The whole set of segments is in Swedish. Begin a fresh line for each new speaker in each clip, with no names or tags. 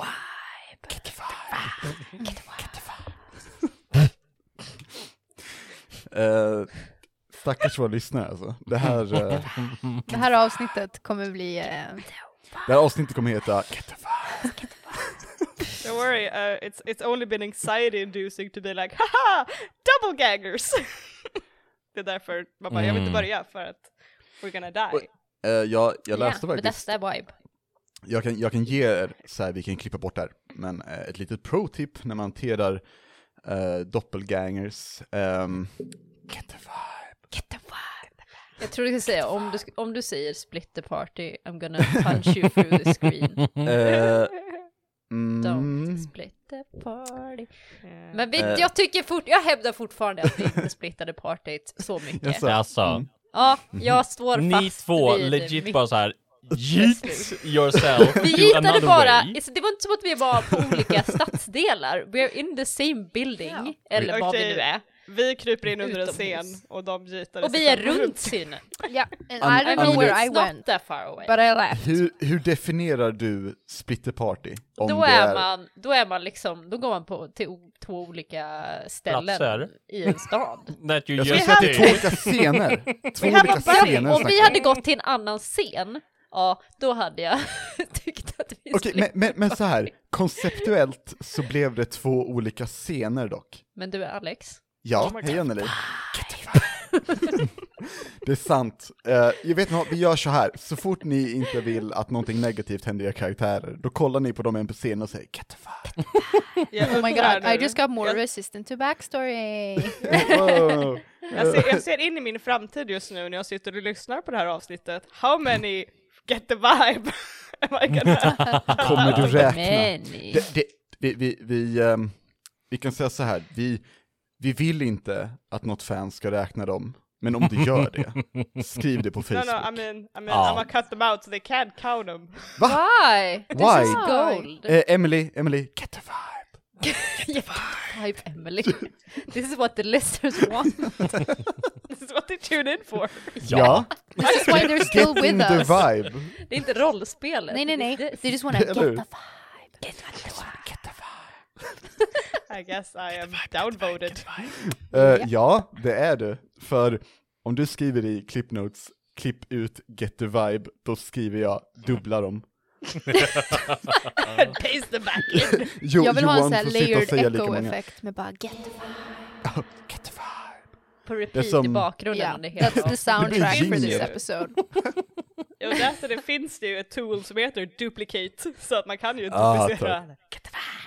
vibe. Get the vibe. Get the vibe. Get the vibe.
Eh, stackars våra lyssnare alltså. Det här, eh,
Det här avsnittet kommer bli... Eh,
det här avsnittet kommer heta Get the vibe.
Don't worry, uh, it's it's only been anxiety inducing to be like haha, double gaggers! det är därför man bara, jag vill inte
Mm.
börja för att we're gonna
Oj.
die.
Eh, jag, jag läste
yeah,
faktiskt,
Bethesda vibe.
jag kan, jag kan ge er, så här, vi kan klippa bort det här, men eh, ett litet pro-tip när man hanterar eh, doppelgangers. ehm, Get the vibe.
Get the vibe. Jag tror du ska säga, om du, sk- om du säger split the party, I'm gonna punch you through the screen.
Eh,
Don't
mm,
split the party.
Eh,
Men vi,
Eh.
jag tycker fort, jag hävdar fortfarande att vi inte splittade partyt så mycket.
Jaså?
Alltså,
Mm.
Ja, jag står fast
ni två
vid
legit
mitt-
bara så här. Yeet yourself
Vi
to
hittade
another
bara,
way.
det var inte som att vi var på olika stadsdelar, we're in the same building,
Ja.
eller vad vi
Okej.
nu är.
vi kryper in under en scen
Utomhus.
och de gitar
Och vi är runt synen.
yeah, and
An-
I don't
I
know
mean,
where
mean
I
it's not
went,
that far away.
but I left.
Hur, hur definierar du splitter party? Om
Då
det
är, man, då är man liksom, då går man på till o- två olika ställen
Platser.
i en stad.
That you
Jag skulle
used
säga att det är två
to.
olika scener. Två
have
olika
a buddy.
scener
Om vi
snackar
hade gått till en annan scen, ja, då hade jag tyckt att vi
Okej,
skulle...
men, men, men så här, konceptuellt så blev det två olika scener dock.
Men du Alex,
Ja,
Oh my
hej
God.
Anneli. Det är sant. Eh, jag vet inte, vad, vi gör så här, så fort ni inte vill att någonting negativt händer era karaktärer, då kollar ni på dem NPCn och säger get the fuck.
Oh my god, I just got more resistant to backstory.
Wow.
Jag ser, jag ser in i min framtid just nu när jag sitter och lyssnar på det här avsnittet. How many get the vibe? am I gonna...
Kommer du räkna?
men...
Det, det, vi, vi, vi, ehm, vi kan säga så här, vi, vi vill inte att något fan ska räkna dem, men om du gör det, skriv det på
No
Facebook.
no, I mean, I mean
Ja.
I'm gonna cut them out so they can count them.
Why?
Why?
Gold.
Eh, Emily, Emily, get the vibe.
Jättehype Emily. This is what the listeners want.
This is what they tune in for.
Ja.
This is why they're still
Get in
with
the
us.
vibe.
Det är inte rollspelet.
Nej, nej, nej.
Det är
They just wanna get
Eller
the
hur?
vibe.
I guess I am downvoted.
Eh, ja, det är du. För om du skriver i clip notes, klipp ut get the vibe, då skriver jag dubbla dem.
And paste them back in.
Jo,
Jag vill ha en
Johan
sån här
får sitta och
layered
säga lika många.
echo-effekt med bara get the vibe.
Get the vibe.
på
Det är
repeat i
som-
bakgrunden
Yeah,
under hela
that's the soundtrack for this
jingle.
episode.
Jag läste det finns det ju ett tool som heter duplicate, så att man kan ju
Ah,
duplicera.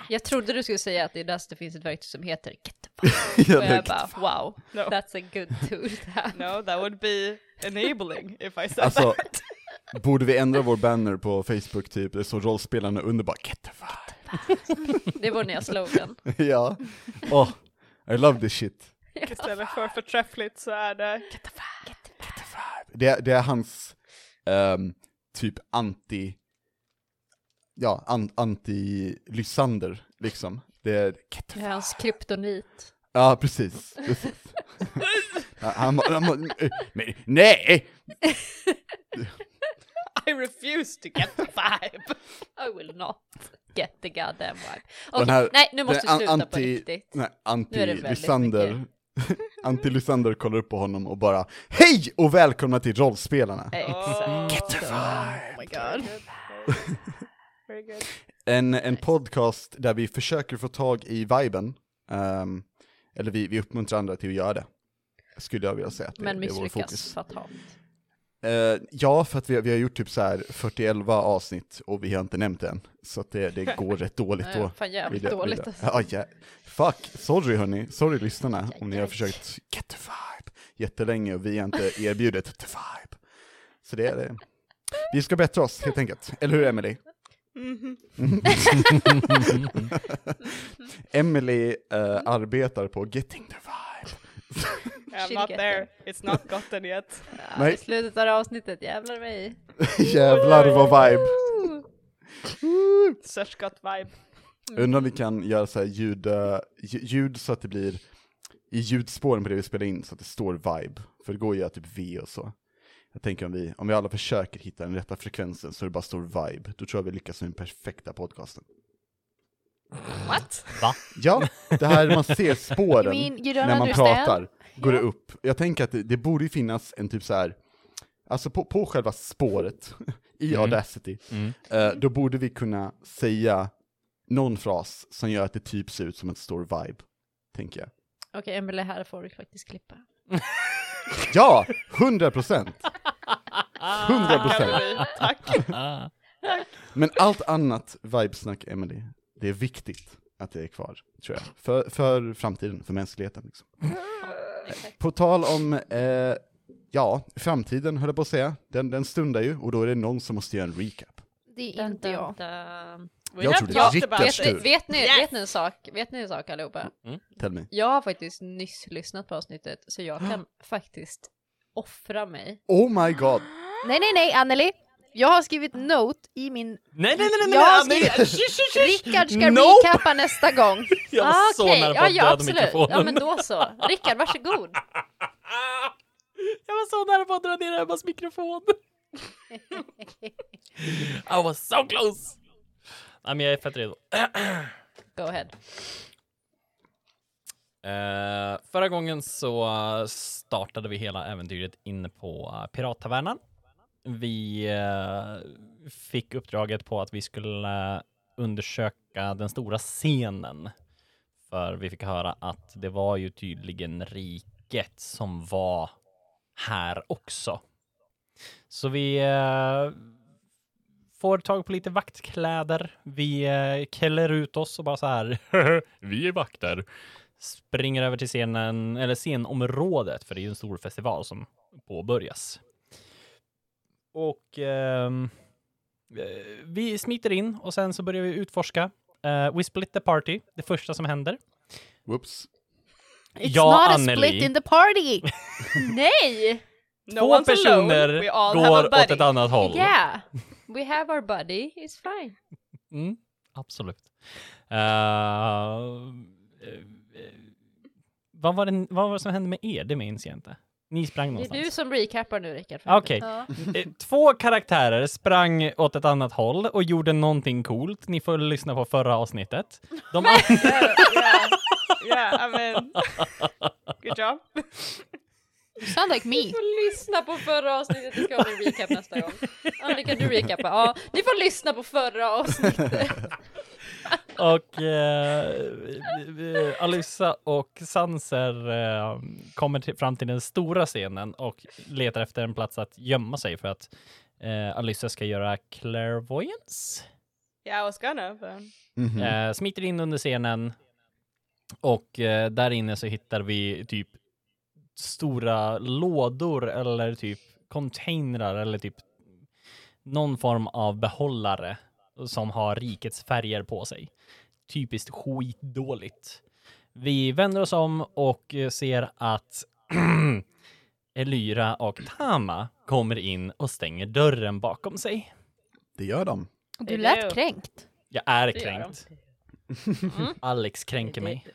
Jag trodde du skulle säga att det är där det finns ett verktyg som heter Get the fuck.
Ja,
Och
det-
jag bara wow,
No.
that's a good tool to have.
no, that would be enabling if I said
Alltså,
that.
borde vi ändra vår banner på Facebook typ, det står rollspelarna under bara get the vibe.
Det är vår nya slogan.
ja. Oh, I love this shit.
Istället för förträffligt så är det
Get the vibe. Det, det är hans ehm, typ anti, ja, an, anti-Lysander liksom. Det är get the
Det är hans kryptonit.
Ja, precis. precis. Ja, han bara, han bara, men nej!
I refuse to get the vibe.
I will not get the goddamn vibe.
den
Okej,
här-
nej nu måste
den
du sluta på
anti- Mm.
riktigt.
Nej,
Nu är det väldigt
anti-Lysander. Anti-Lysander kollar upp på honom och bara Hej och välkomna till rollspelarna!
Exakt.
Get the
Oh my god.
Very good.
En, en podcast där vi försöker få tag i viben. ehm, eller vi, vi uppmuntrar andra till att göra det. Skulle jag vilja säga att det,
Men
det är vår fokus.
misslyckas fatalt.
Eh, ja, för att vi, vi har gjort typ så här 41 avsnitt och vi har inte nämnt det än. Så att det, det går rätt dåligt
Nej,
då.
Fan jävligt
Video-
dåligt
video.
alltså.
Ja, ja. Fuck, sorry hörni, sorry lyssnarna om ni har
Jajamän.
försökt get the vibe jättelänge och vi har inte erbjudit the vibe. Så det är det. Vi ska bättra oss helt enkelt, eller hur Emily?
Mhm.
Mm-hmm. Emily eh, arbetar på getting the vibe.
I'm
She'll
not
get
there. It's not gotten yet.
Ja,
Nej.
I slutet av avsnittet, jävlar mig.
Jävlar vad vibe!
Such got vibe.
Mm.
Undrar om vi kan göra så här ljud, eh, lj- ljud så att det blir i ljudspåren på det vi spelar in så att det står vibe. För det går ju att göra typ V och så. Jag tänker om vi, om vi alla försöker hitta den rätta frekvensen så det bara står vibe, då tror jag vi lyckas med den perfekta podcasten.
What?
Va?
Ja, det här man ser
I
spåren
mean, you don't
när man
understand.
pratar, går det
Ja.
upp. Jag tänker att det, det borde ju finnas en typ så här, alltså på, på själva spåret i
Mm.
Audacity,
Mm.
eh, då borde vi kunna säga någon fras som gör att det typ ser ut som en stor vibe, tänker jag.
Okej, Emelie, här får du faktiskt klippa.
Ja, 100 procent! 100
Tack,
procent!
Emily. Tack.
Ah.
Men allt annat vibesnack, Emily, det är viktigt att det är kvar, tror jag. För, för framtiden, för mänskligheten. Liksom. På tal om, eh, ja, framtiden höll jag på att säga, den, den stundar ju, och då är det någon som måste göra en recap.
Det är inte jag.
We
Jag
have
trodde
talked
Rickard
about
Yes,
Vet ni,
skulle-
it.
du.
vet, ni,
Yes!
vet ni en sak? Vet ni en sak allihopa?
Tell me.
Jag har faktiskt nyss lyssnat på avsnittet så jag kan faktiskt offra mig.
Oh my god!
Nej, nej, nej, Anneli. Jag har skrivit note i min...
Nej, nej, nej, nej,
Jag har
nej, nej. Shh, shh, shh.
Rickard ska
Nope.
recappa nästa gång.
Jag var så
Ah, okej.
nära på
ja,
att
ja,
döda
absolut.
mikrofonen.
Ja, men då så. Rickard, varsågod.
Ah. Jag var så nära på att dra ner Emmas mikrofon. I was so close! Nej, men jag är fett redo.
Go ahead.
Eh, förra gången så eh, startade vi hela äventyret inne på eh, Pirattavernan. Vi eh, fick uppdraget på att vi skulle eh, undersöka den stora scenen. För vi fick höra att det var ju tydligen riket som var här också. Så vi eh, får tag på lite vaktkläder. Vi eh, klär ut oss och bara så här. vi är vakter springer över till scenen, eller scenområdet, för det är ju en stor festival som påbörjas. Och ehm, eh, vi smiter in och sen så börjar vi utforska. Eh, we split the party, det första som händer.
Whoops.
It's
Ja,
not
Anneli.
a split in the party!
Nej!
No
Två
one's
personer
alone. We all have
går
a
åt
buddy.
ett annat håll.
Yeah! We have our buddy, it's fine.
Mm, absolut. Eh, eh, eh, vad, var det, vad var det som hände med er? Det minns jag inte. Ni sprang
Det är
någonstans.
du som recappar nu, Rickard.
Okej. Eh, Två karaktärer sprang åt ett annat håll och gjorde någonting coolt. Ni får lyssna på förra avsnittet. De andra...
yeah, yeah, I mean, good job.
You sound like me.
Ni får lyssna på förra avsnittet, det ska bli recap nästa gång. Annika, du recappa. Ja, ni får lyssna på förra avsnittet.
och eh, eh, Alyssa och Sanser eh, kommer till, fram till den stora scenen och letar efter en plats att gömma sig för att eh, Alyssa ska göra clairvoyance.
Yeah, I was gonna. But...
Mhm.
Eh, smiter in under scenen och eh, där inne så hittar vi typ stora lådor eller typ containrar eller typ någon form av behållare som har rikets färger på sig. Typiskt skitdåligt. Vi vänder oss om och eh, ser att Elyra och Tama kommer in och stänger dörren bakom sig.
Det gör de.
Du
Hello.
lät kränkt.
Jag är
Det gör de. Mm.
kränkt. Alex kränker mig.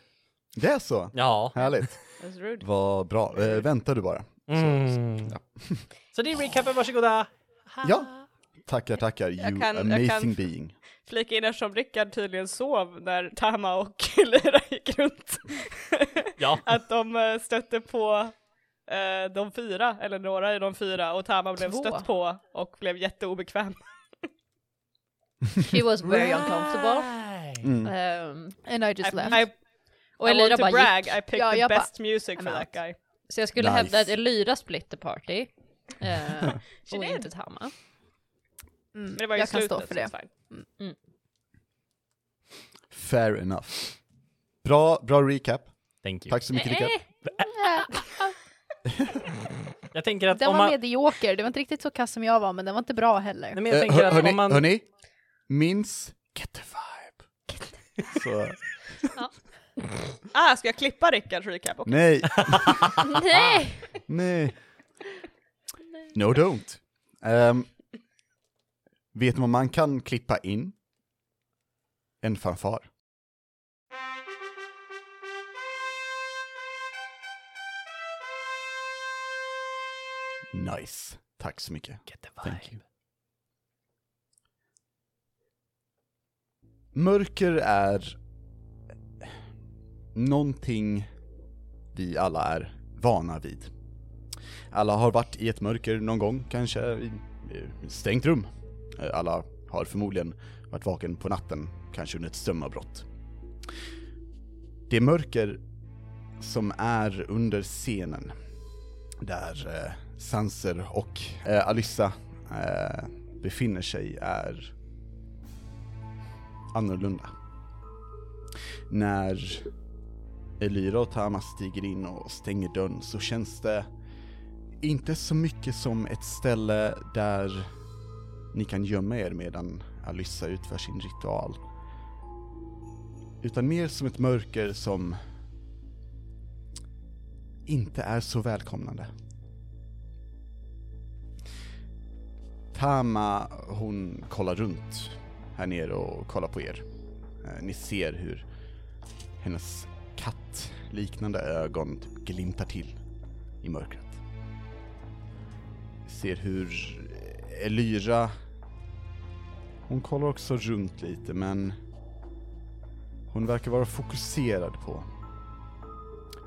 Det är så.
Ja.
Härligt.
That's rude.
Vad bra. Eh, vänta du bara.
Mm.
ja.
Så det är recapen, varsågoda.
Ja. Tackar, tackar. You
kan- jag
amazing
kan-
being.
Flika in eftersom Rickard tydligen sov när Tama och Lyra gick runt.
Ja.
Att de eh, stötte på eh, de fyra, eller några i de fyra, och Tama blev
Två.
stött på och blev jätteobekväm.
She was very uncomfortable.
Mm.
Um,
And I just
I,
left.
I,
och
I
Elira
want to
bara
brag,
gick.
I picked
Ja,
the
jag bara,
best music for
I'm
that
out.
guy.
Så jag skulle
Nice.
hävda att Elira split the party. eh,
She
och
did.
inte Tama.
Mm,
Men det var ju
jag kan
slutet,
stå för
så
det.
it's fine.
Fair enough. Bra, bra recap.
Thank you.
Tack så mycket
Eh,
Rickard.
Jag tänker att
Den
om
var
man...
medioker, det var inte riktigt så kass som jag var, men den var inte bra
Nej,
heller.
men jag
Eh,
tänker
hör-
att
hörni,
om man...
hörni, minns Get the vibe. Så,
Ah, ska jag klippa Rickards recap? Okay.
nej,
Nej!
nej. No don't. Ehm, vet ni vad man kan klippa in? En fanfar. Nice. Tack så mycket.
Get the
Thank
vibe.
Mörker är någonting vi alla är vana vid. Alla har varit i ett mörker någon gång, kanske i eh, stängt rum. Eh, Alla har förmodligen varit vaken på natten, kanske under ett strömavbrott. Det mörker som är under scenen, där eh, Sanser och eh, Alyssa eh, befinner sig, är annorlunda. När Elira och Tama stiger in och stänger dörren så känns det inte så mycket som ett ställe där ni kan gömma er medan Alyssa utför sin ritual. Utan mer som ett mörker som inte är så välkomnande. Tama, hon kollar runt här nere och kollar på er. Eh, Ni ser hur hennes kattliknande ögon typ glimtar till i mörkret. Ni ser hur Elyra, hon kollar också runt lite men hon verkar vara fokuserad på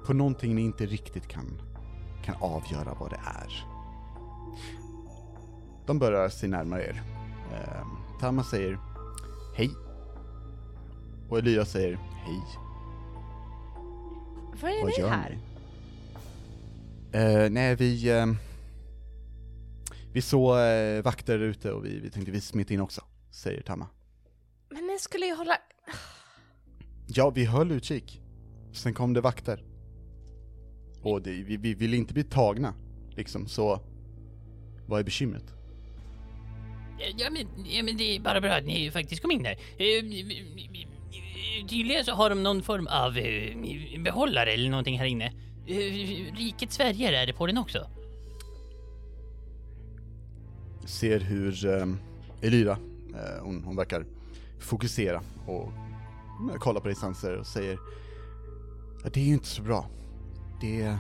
på någonting ni inte riktigt kan, kan avgöra vad det är. De börjar se närmare er. Eh, Tama säger hej. Och Elyra säger hej.
Vad är
Vad
ni
gör
här?
ni? Eh, nej, vi... eh, vi såg eh, vakter ute och vi, vi tänkte vi smet in också, säger Tamma.
Men ni skulle ju hålla...
Ja, vi höll utkik. Sen kom det vakter. Och det, vi, vi ville inte bli tagna, liksom, så... Vad är bekymret?
Ja men, ja men det är bara bra att ni faktiskt kom in här. Eh, Tydligen så har de någon form av eh, behållare eller någonting här inne. Eh, Rikets Sverige är det på den också.
ser hur eh, Elira, eh, hon, hon verkar fokusera och kollar på distanser och säger ja, det är ju inte så bra. Det,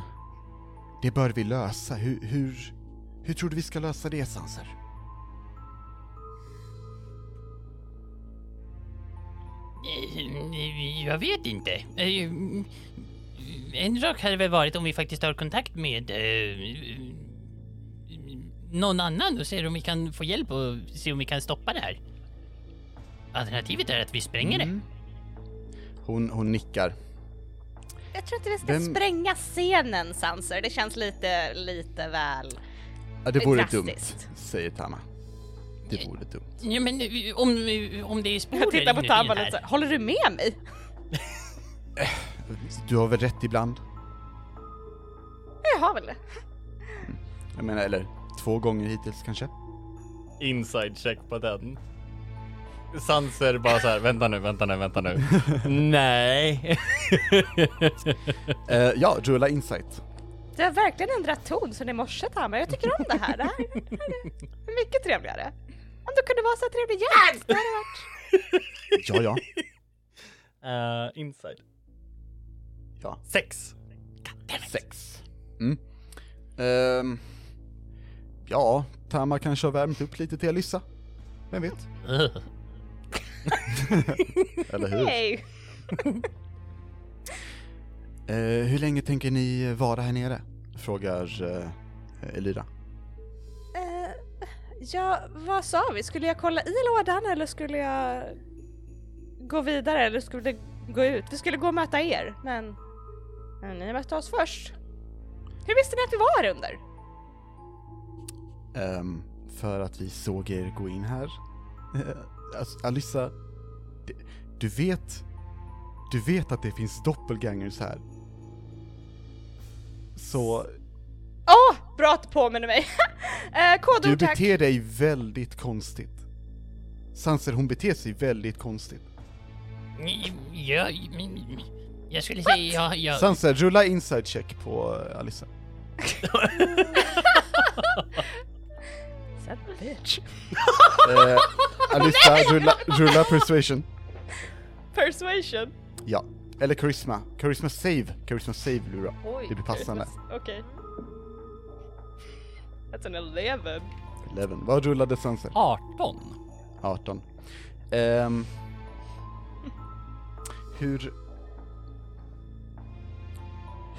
det bör vi lösa. Hur, hur, hur tror du vi ska lösa det, Sanser?
Eh, Jag vet inte. Eh, En sak hade väl varit om vi faktiskt tar kontakt med eh, någon annan och ser om vi kan få hjälp och se om vi kan stoppa det här. Alternativet är att vi spränger
Mm.
det.
Hon, hon nickar.
Jag tror inte vi ska
Den-
spränga scenen, Sanser. Det känns lite, lite väl...
Ja, det vore
Drastiskt.
dumt, säger Tama. Det vore dumt.
Ja, men eh, om, om det är sporer
Jag tittar på
inuti den
Tamma
här.
lite så här, Håller du med mig?
Du har väl rätt ibland?
Jag har väl det.
Jag menar, eller två gånger hittills kanske?
Inside check på den. Sanser bara så här, vänta nu, vänta nu, vänta nu. Nej.
Eh, ja, rulla insight.
Du har verkligen ändrat ton sen i morse Tamma. Jag tycker om det här. Det här, det här är mycket trevligare. Om du kunde vara så trevlig jämt! Det hade varit...
Ja, ja.
Eh, inside.
Ja.
Sex.
Sex. Mm. Ehm, ja, Tama kanske har värmt upp lite till Alyssa. Vem vet?
Ugh.
Eller hur?
Hej!
Eh, hur länge tänker ni vara här nere? Frågar eh, Elira.
Eh, ja, vad sa vi? Skulle jag kolla i lådan eller skulle jag gå vidare eller skulle det gå ut? Vi skulle gå och möta er, men, men ni mötte oss först. Hur visste ni att vi var här under?
Ehm, för att vi såg er gå in här. Eh, alltså, Alyssa, d- du vet... Du vet att det finns doppelgangers här. Så
Åh, bra att du påminner mig! eh,
du
kodord tack!
beter dig väldigt konstigt. Sanser, hon beter sig väldigt konstigt.
Jag, jag skulle säga ja, ja.
Sanser, rulla inside check på eh, Alyssa.
Sad bitch.
Eh, Alyssa, rulla, rulla persuasion.
Persuasion.
Ja. Eller charisma. Charisma save. Charisma save, Lura.
Oj.
Det blir passande.
Okej. That's an eleven.
11. Vad rullade Sanser?
18.
18. Ehm, hur...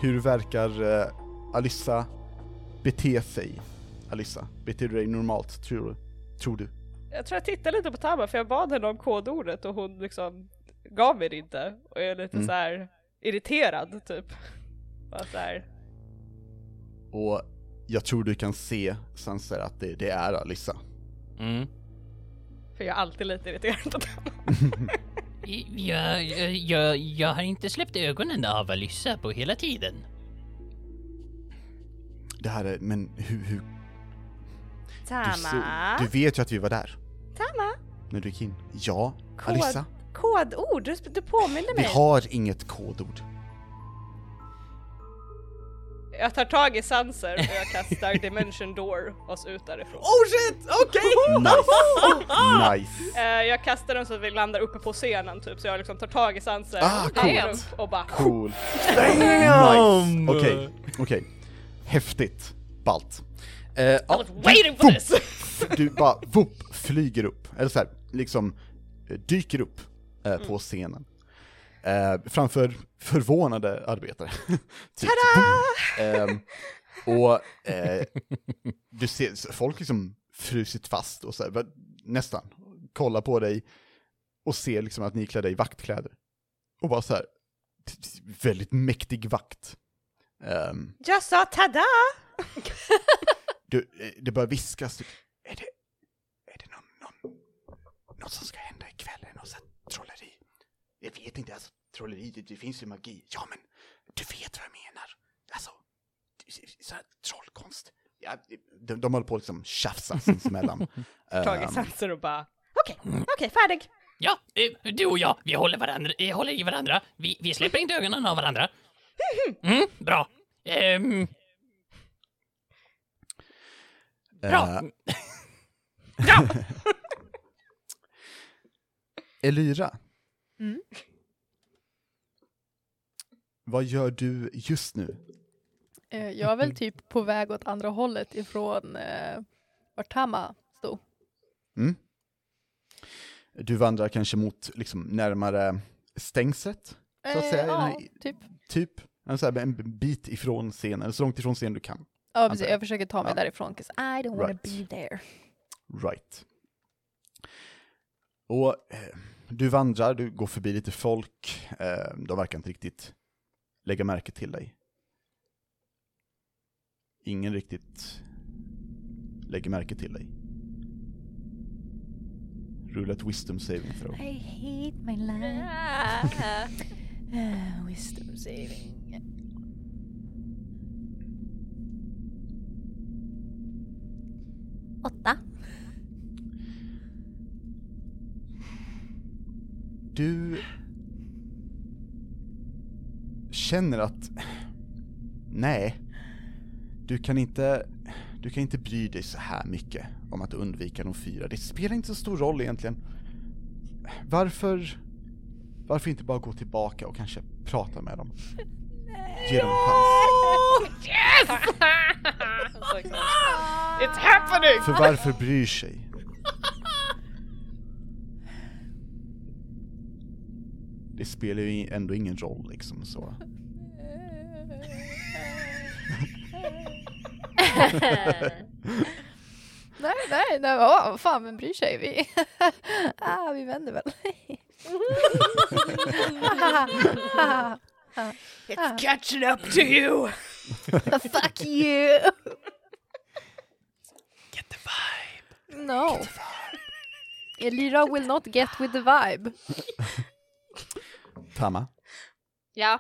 Hur verkar eh, Alissa bete sig? Alissa, beter du dig normalt, tror du? Tror du?
Jag tror jag tittade lite på Tama för jag bad henne om kodordet och hon liksom gav mig det inte. Och jag är lite
Mm.
så här irriterad typ. Bara så här.
Och jag tror du kan se, Sanser, att det, det är Alissa.
Mm.
För jag är alltid lite irriterad på Tama.
Jag, jag, jag, jag har inte släppt ögonen av Alyssa på hela tiden.
Det här är, men hur, hur Du, så,
Tama?
du vet ju att vi var där
Tama?
när du gick in. Ja,
Kod-
Alissa.
Kodord? Du, du påminner
Vi
mig.
har inget kodord.
Jag tar tag i Sanser och jag kastar Dimension Door oss ut därifrån.
Oh shit! Okej!
Nice! nice!
Eh, jag kastar den så att vi landar uppe på scenen typ, så jag liksom tar tag i Sanser
Ah,
och tar
coolt.
upp och bara
Cool.
Damn!
Nice! Okej, okej. Häftigt. Ballt. Eh,
I
ja,
was waiting for this!
du bara vopp, flyger upp. Eller så här, liksom eh, dyker upp eh, på
Mm.
scenen. Eh, framför förvånade arbetare. typ. Ehm, och eh, du ser s- folk liksom frusit fast och så här, va- nästan, kollar på dig och ser liksom att ni klär dig i vaktkläder. Och bara så här, t- t- väldigt mäktig vakt. Ehm,
Jag sa tada!
du, eh, det börjar viskas. typ, Är det, är det någon, någon, något som ska hända ikväll? Är det något sånt här trolleri? Jag vet inte, alltså trolleri, det, det finns ju magi. Ja, men du vet vad jag menar. Alltså, det- sån här trollkonst. Ja, de, de håller på att liksom tjafsa sinsemellan.
Tag i
Ehm,
Sanser och bara okej, okej, färdig!
Ja, eh, du och jag, vi håller, varandra, eh, håller i varandra. Vi, vi släpper inte ögonen av varandra. Mm, bra. Ehm, bra.
eh, Elyra.
Mm.
Vad gör du just nu?
Eh, Jag är väl typ på väg åt andra hållet ifrån eh, vart Tama stod.
Du vandrar kanske mot, liksom, närmare stängslet? Så att säga,
Eh, ja,
nej.
typ.
Typ, en, så här, en bit ifrån scenen, så långt ifrån scenen du kan.
Ja, precis.
jag.
Jag försöker ta mig
Ja.
därifrån, 'cause Ah, I don't wanna
Right.
be there.
Right. Och eh, du vandrar, du går förbi lite folk, eh, de verkar inte riktigt lägga märke till dig. Ingen riktigt lägger märke till dig. Rulla ett wisdom saving throw.
I hate my life. Eh, wisdom saving. Åtta.
Du känner att nej, du kan inte, du kan inte bry dig så här mycket om att undvika de fyra. Det spelar inte så stor roll egentligen. Varför, varför inte bara gå tillbaka och kanske prata med dem? Ge dem en chans.
Alltså, It's happening!
För varför bryr sig? Det spelar ju ändå ingen roll liksom så.
Nej, nej, nej, åh, vad fan, vem bryr sig? Vi, ah, vi vänder väl.
It's catching up to you!
Fuck you! Get the vibe. No. Elira will not get with the vibe.
Tama?
Ja.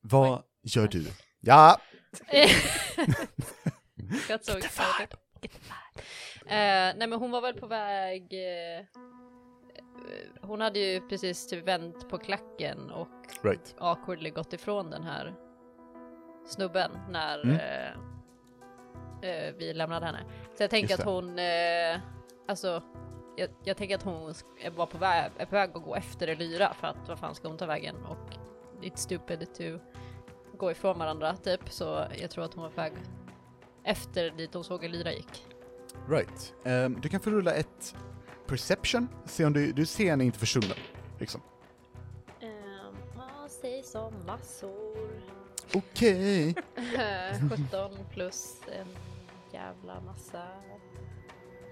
Vad gör du? Ja!
Got so excited. Get the vibe. Eh, nej men hon var väl på väg... eh, eh, hon hade ju precis typ vänt på klacken och
Right.
awkwardly gått ifrån den här snubben när
Mm.
eh, eh, vi lämnade henne. Så jag tänker
Just
att
det.
hon, eh, alltså, jag, jag tänker att hon sk- var på väg, är på väg att gå efter Elyra för att vad fan ska hon ta vägen och it's stupid to gå ifrån varandra typ så jag tror att hon var på väg efter dit hon såg Elyra gick.
Right. Ehm, du kan få rulla ett perception, se om du, du ser henne inte försvunnen. Liksom.
Um, säg som massor.
Okej.
17 Eh, plus en jävla massa.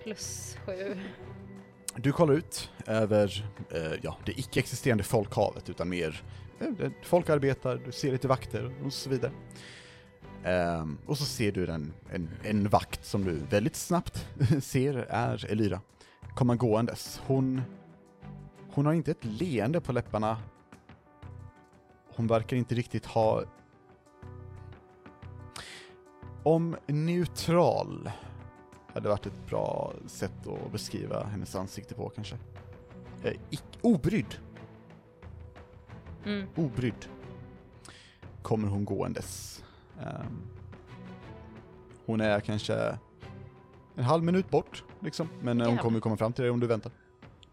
Plus 7.
Du kollar ut över eh, ja, det icke-existerande folkhavet utan mer eh, där folk arbetar, du ser lite vakter och så vidare. Ehm, och så ser du den, en, en vakt som du väldigt snabbt ser är Elira komma gåendes. Hon, hon har inte ett leende på läpparna. Hon verkar inte riktigt ha... Om neutral hade varit ett bra sätt att beskriva hennes ansikte på kanske. Eh, ic- obrydd,
Mm.
obrydd. Kommer hon gåendes. Ehm, hon är kanske en halv minut bort, liksom. Men eh, hon
Jävlar.
kommer ju komma fram till dig om du väntar.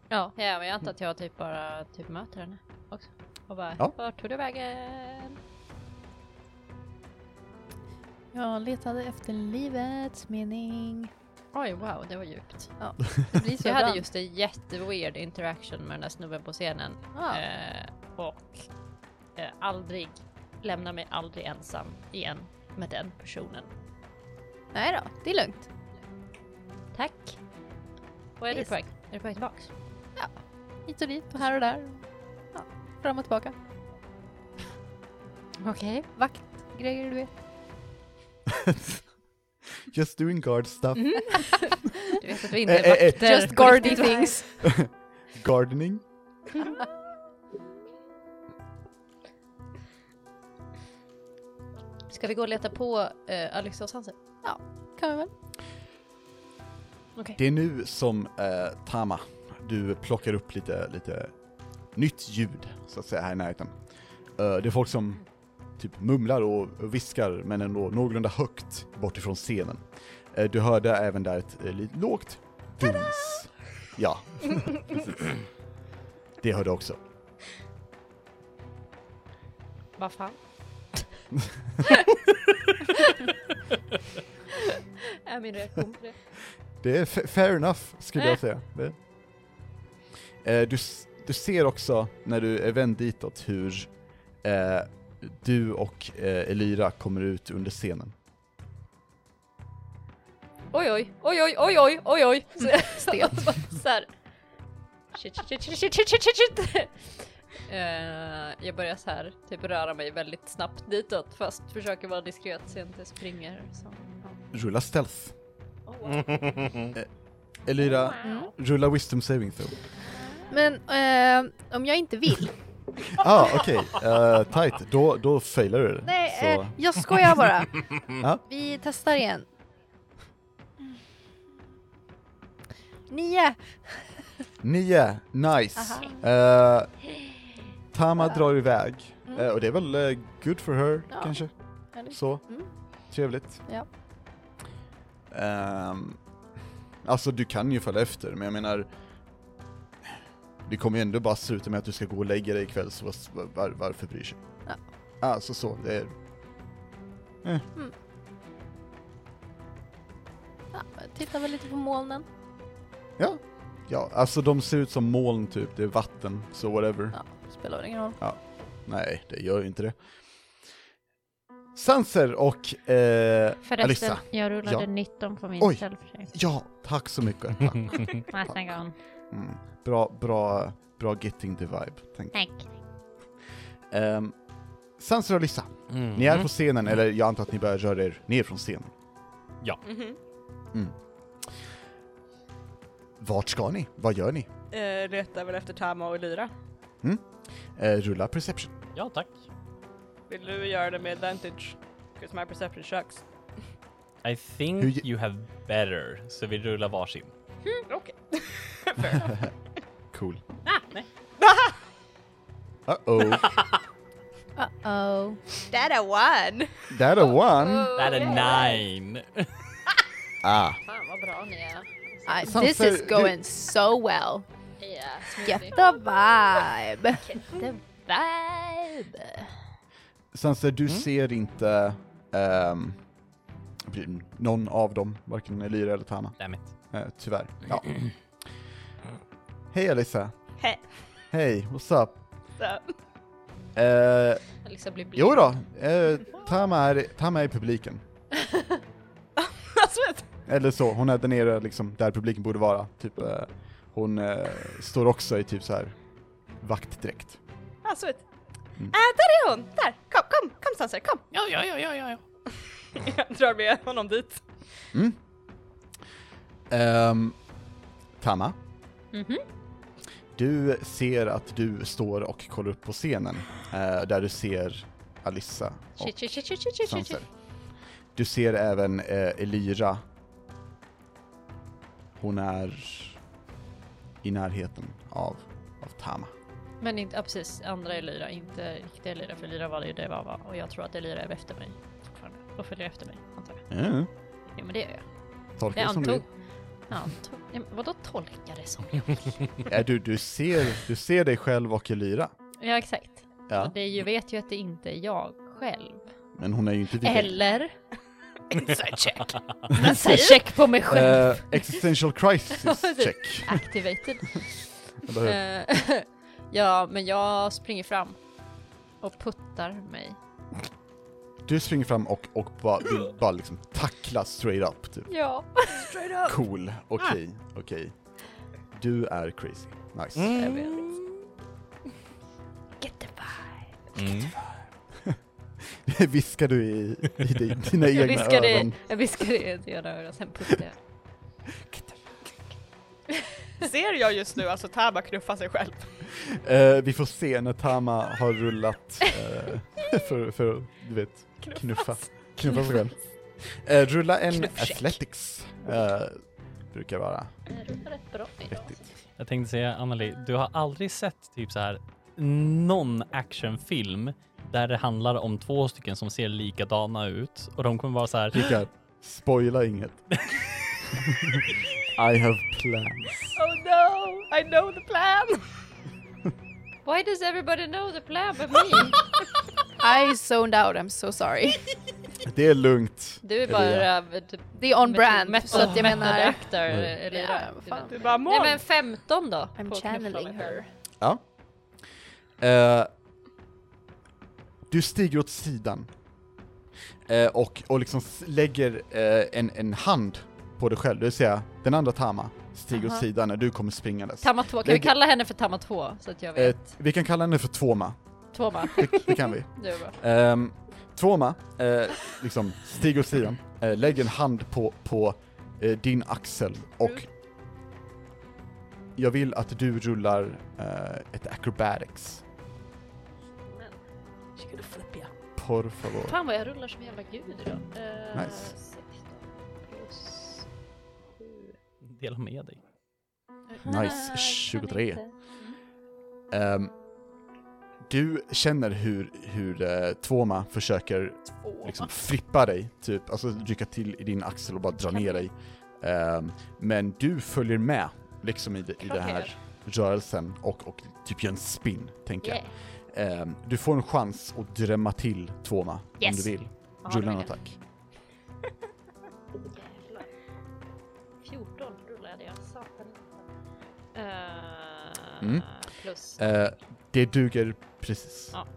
Ja, ja, men jag antar att jag typ bara typ möter henne också. Och bara,
Ja.
vart tog du vägen?
Jag letade efter livets mening.
Oj, wow, det var djupt.
Det blir så
Jag hade
ibland.
just en jätteweird interaction med den där snubben på scenen.
Ja.
Eh, och eh, aldrig, lämna mig aldrig ensam igen med den personen.
Nej då, det är lugnt.
Tack! Vad är du
Visst.
på väg? Är du på väg tillbaks?
Hit och dit och här och där. Ja, fram och tillbaka.
Okej.
Grejer du vet.
Just doing guard stuff.
Du vet att vi inte
Eh, eh, eh.
är vakter.
Just
på
guardy
riktigt.
things.
Gardening.
Ska vi gå och leta på eh, Alexa och Sanse?
Kan vi väl?
Okej.
Det är nu som eh, Tama, du plockar upp lite, lite nytt ljud så att säga här i närheten. Eh, det är folk som typ mumlar och och viskar men ändå någorlunda högt bortifrån scenen. Eh, du hörde även där ett eh, lite lågt duns. Ja, precis. Det hörde jag också.
Vad fan? är min reaktion på det?
Det är fa- fair enough, skulle jag säga. Det. Eh, du, s- du ser också, när du är vänd ditåt, hur eh, du och eh, Elira kommer ut under scenen.
Oj oj, oj oj, oj oj, oj oj. Så-
Stelt.
Så här. Shit, shit, shit, shit, shit, shit, shit, shit, shit. Eh, jag börjar så här, typ röra mig väldigt snabbt ditåt fast försöker vara diskret så jag inte springer. Så.
Rulla stealth. Eh,
Oh, wow.
Elira,
Oh,
rulla wisdom saving throw.
Men eh, om jag inte vill.
Ah, okej. Eh, tight, då, då failar du.
Nej,
Så-
eh, jag skojar bara.
Ja.
Vi testar igen. Nio!
Nio, nice. Eh, Tama drar iväg. Eh, och det är väl eh, good for her,
Ja.
kanske.
Ja, det-
Så.
Mm.
Trevligt.
Ja.
Ehm, alltså, du kan ju följa efter, men jag menar... Det kommer ju ändå bara sluta med att du ska gå och lägga dig ikväll, så var, var, varför bryr sig?
Ja.
Alltså så, det är...
Ja, tittar väl lite på molnen.
Ja, alltså de ser ut som moln typ, det är vatten, så whatever.
Ja, spelar väl ingen roll.
Nej, det gör ju inte det. Sanser och eh,
Förresten,
Alissa.
jag rullade
Ja.
19 på min
Oj.
självförsök.
Ja, tack så mycket. Tack.
Nästa gång.
Mm. Bra, bra, bra getting the vibe. Tänk.
Tack.
Um, Sanser och Alissa,
Mm.
ni är på scenen, eller jag antar att ni börjar röra er ner från scenen. Mm.
Mhm.
Vart ska ni? Vad gör ni?
Eh, letar väl efter Tama och Lyra.
Eh, rulla perception.
Ja, tack.
Vill du göra det med advantage? 'Cause my perception sucks.
I think
Hur ge-
you have better. Så vi rullar varsin.
Okej.
Cool. Ah, nej. Uh-oh.
Uh-oh.
That a one!
That a one.
That a nine.
Ah.
Fan vad bra ni är.
I,
Sanser,
Ah, this is
du-
going so well.
Yeah,
Get the vibe!
the vibe.
Sanser, du
Mm.
ser inte ehm, någon av dem, varken Elira eller Tana.
Damn it.
Eh, tyvärr. Ja. Hej Alissa.
Hej.
Hej, what's up?
Så.
Eh,
Alissa blir blind.
jo då, eh, Tama, är, Tama är i publiken.
Alltså, vet-
Eller så, hon är där nere liksom, där publiken borde vara. Typ, eh, hon eh, står också i typ så här vaktdräkt.
alltså, vet.
Mm.
Äh, där är hon! Där! Kom, kom, kom Sanser, kom!
Ja, ja, ja, ja, ja. ja.
Jag drar med honom dit.
Mm. Ehm, Tama,
Mhm.
du ser att du står och kollar upp på scenen, eh, där du ser Alissa och
Shit, shit, shit, shit, shit, shit, shit,
Sanser.
shit.
Du ser även eh, Elira. Hon är i närheten av, av Tama.
Men inte, ja, precis, andra Elira, inte riktiga Elira, för Elira var det ju det var, va? och jag tror att Elira är efter mig fortfarande. Och följer efter mig, antar jag.
Mm.
Jo men det gör jag.
Tolkar
Jag
det som du
antog.
vill.
Jag antog. Ja, men Vadå tolka det som jag
Ja, du, du, ser, du ser dig själv och Elira.
Ja exakt.
Ja.
Och det är ju, vet ju att det inte är jag själv.
Men hon är ju inte vilken.
Eller?
Inside check.
Men så här, check på mig själv.
Eh, existential crisis check.
Activated.
Eller hur?
Eh, ja men jag springer fram. Och puttar mig.
Du springer fram och, och bara, vill bara liksom tackla straight up. Typ.
Ja. Ah.
Cool, okej, okej. Du är crazy. Nice.
Mm.
Get the vibe.
viskar du i, i di- dina
Jag
egna
viskar
öron.
det, jag viskar det i ett ena öra, sen puttar jag.
Ser jag just nu alltså Taba knuffa sig själv?
Eh, vi får se när Tama har rullat eh, för, för, du vet, knuffa. Knuffa sig själv. Eh, rulla en athletics, eh, brukar vara.
Det var rätt bra idag.
Jag tänkte säga Anneli, du har aldrig sett typ så här någon actionfilm där det handlar om två stycken som ser likadana ut och de kommer vara så här.
Rickard, spoila inget. I have plans.
Oh no! I know the plan!
Why does everybody know the plan but me?
I zoned out, I'm so sorry.
Det är lugnt.
Du är
Elia.
bara... eh, typ
Det är on
method-
brand,
method-
så att jag
method
menar...
actor,
Nej.
Elira.
Ja, vad fan.
Du bara
Nej
mål!
men 15 då? på
I'm
att knuffa
channeling
mig.
her.
Ja. Eh, du stiger åt sidan. Eh, och, och liksom s- lägger eh, en, en hand på dig själv, det vill säga den andra Tama stiger åt
Aha.
sidan när du kommer springandes.
Tamma 2, kan vi
Lägg-
kalla henne för Tamma 2? Så att jag
Eh,
vet.
vi kan kalla henne för Tvåma,
Tvåma,
det, det kan vi.
det är bra.
Ehm, Tvåma eh, liksom stiger åt sidan, eh, lägger en hand på, på eh, din axel och jag vill att du rullar eh, ett acrobatics. Por favor.
Fan vad jag rullar som jävla gud idag. Eh,
Nice.
16 plus sju.
Dela med dig.
Nice,
Ah,
23.
kan inte.
Ehm, du känner hur, hur eh, Tvåma försöker liksom frippa dig, typ, alltså rycka till i din axel och bara dra ner dig. Ehm, men du följer med liksom i, det- i den här rörelsen och, och typ gör en spin, tänker jag.
Yeah.
Ehm, du får en chans att drämma till Tvåma om
Yes.
du vill.
Ja, det
Rulla en
vill jag.
attack.
Jävlar. 14 rullade jag, satan. Eh,
Mm.
Plus,
Ehm, det duger precis.
Ja.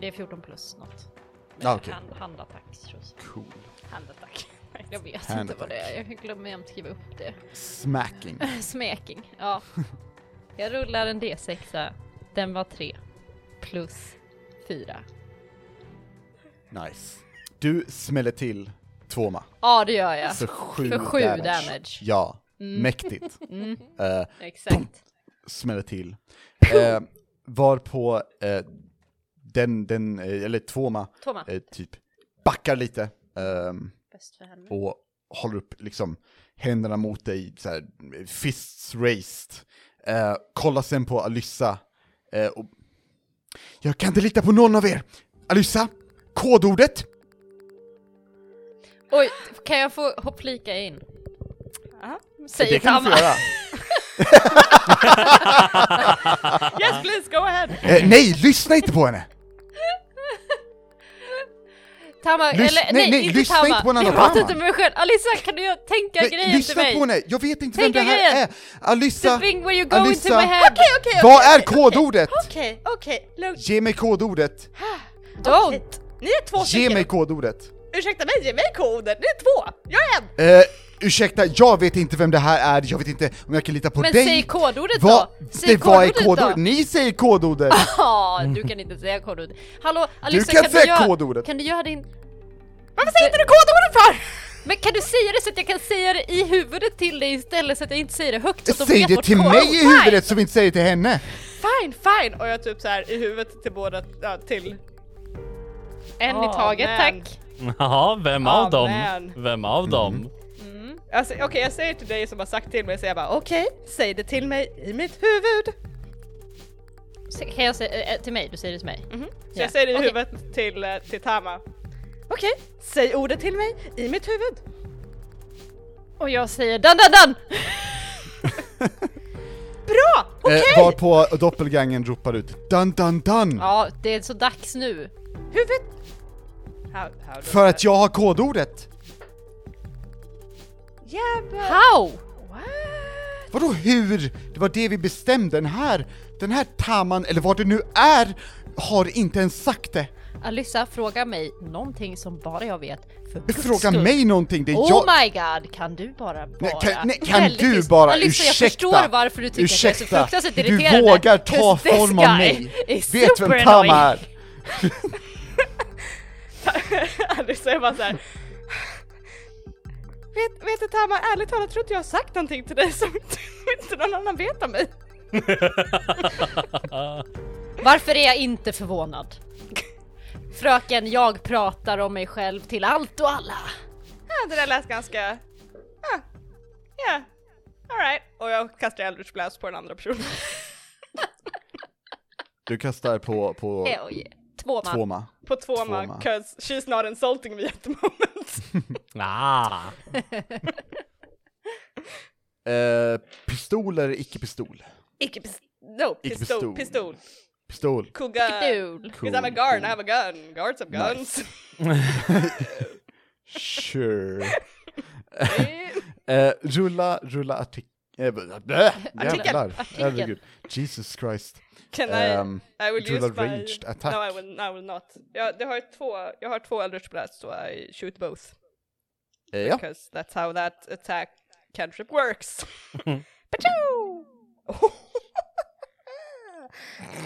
det är 14 plus något.
Ah, okej.
Hand, handattack, tror jag.
Cool.
Handattack. Jag vet inte
Handattack.
vad det är, jag glömmer jämt skriva upp det.
Smacking.
Smeking, ja. Jag rullar en D6, den var 3. Plus 4. Ja,
Nice. Du smäller till Tvåma.
det gör jag.
För Alltså, sju,
För sju
damage.
damage. Mm.
Ja, mäktigt. Eh,
Exakt.
smäller till. Eh, varpå eh, den, den, eh, eller Tvåma,
Toma,
eh, typ backar lite ehm,
bäst för henne.
och håller upp liksom händerna mot dig, så här, fists raised. Eh, kollar sen på Alyssa eh, och... Jag kan inte lita på någon av er! Alyssa, kodordet!
Oj, kan jag få hoppflika in?
Aha.
Säger
det kan du
Tamma.
få göra.
Yes please, go ahead!
Eh, nej, lyssna inte på henne!
Tama,
Lyssna- nej,
eller nej,
nej,
inte
lyssna
Tama.
inte på Nana
Jag pratar
Tama.
inte med mig själv. Alissa, kan du tänka
Nej,
grejen till
lyssna
mig?
på henne! Jag vet inte vem
Tänka
det här
grejen.
är! Alissa,
The thing where you go
Alissa.
into my head.
Okej, okej, okej!
vad är kodordet?
Okej, okej, lugnt.
Ge mig kodordet!
Don't!
Ni är två
Ge
stycken.
mig kodordet!
Ursäkta mig, ge mig koden. Ni är två. Jag är en.
Eh, ursäkta, jag vet inte vem det här är, jag vet inte om jag kan lita på
Men
dig!
säg kodordet
Vad-
då! Säg
Det var är
kodordet
kodordet?
då! Ah,
Ni säger kodordet!
Ja, du kan inte säga kodordet. Hallå Alissa,
Mm. kan säga
göra-
kodordet.
Kan du göra din...
Varför säger inte du kodordet för?
Men kan du säga det så att jag kan säga det i huvudet till dig istället så att jag inte säger det högt så att de
Säg
vet
det
vart
till
kodordet-
mig i huvudet som vi inte säger till henne! Eh,
Fine, fine! Och jag typ så här i huvudet till båda, ja, till...
En i
Ja,
taget
men-
tack!
Jaha, vem av
Ah,
dem?
man.
Vem av dem?
Alltså, Okej, jag säger till dig som har sagt till mig, så jag bara okej, säg det till mig i mitt huvud.
Så Kan jag säga, eh, eh, till mig? Du säger det till mig?
Så
Ja,
jag säger det i
okej.
huvudet till, eh, till Tama. Okej, säg ordet till mig i mitt huvud.
Och jag säger dan dan dan!
Bra! Okej!
Eh, varpå doppelgangern ropar ut dun dun dun!
Ja, det är så dags nu.
Huvudet! How, how
För att jag har kodordet!
Jävlar!
How?
Vadå hur? Det var det vi bestämde, den här, den här Taman, eller vad det nu är, har inte ens sagt det!
Alissa, fråga mig någonting som bara jag vet för guds
Fråga
skull.
mig någonting, det är
Oh
jag...
my god, kan du bara vara
Nej, kan, nej, kan
väldigt
du
tyst?
bara
Alicia,
ursäkta?
jag förstår varför du tycker
ursäkta,
att jag är så fruktansvärt irriterande.
Du vågar ta
'cause this
form av
guy
mig!
is
Vet
super
vem Tama
annoying.
är?
Alice säger bara såhär... Vet, vet du Tama, ärligt talat tror inte jag har sagt någonting till dig som inte, inte någon annan vet om mig.
Varför är jag inte förvånad? Fröken, jag pratar om mig själv till allt och alla.
Ja, det där lät ganska... Ja, ah, yeah. alright. Och jag kastar Eldritch Blast på den andra personen.
Du kastar på, på
Oh, yeah. Två man.
tvåma.
På tvåma,
Tvåma.
'cause she's not insulting me at the moment.
Ah.
Eh, pistol eller icke-pistol?
Icke pis... No,
Icke pistol.
pistol. Pistol.
Pistol.
Kugga...
Kul.
Because I'm a guard, I have a gun. Guards have
Nice.
guns.
Sure. Eh, rulla, rulla artik... Eh, b- blä, Jävlar,
Artikel.
herregud. Jesus Christ.
Can
Ehm,
I... I will
rulla
use my...
ranged attack.
No, I will, I will not. Jag, det har ju två, jag har två Eldritch Blasts, so I shoot both.
Eh, ja.
Because that's how that attack cantrip works. Patjo!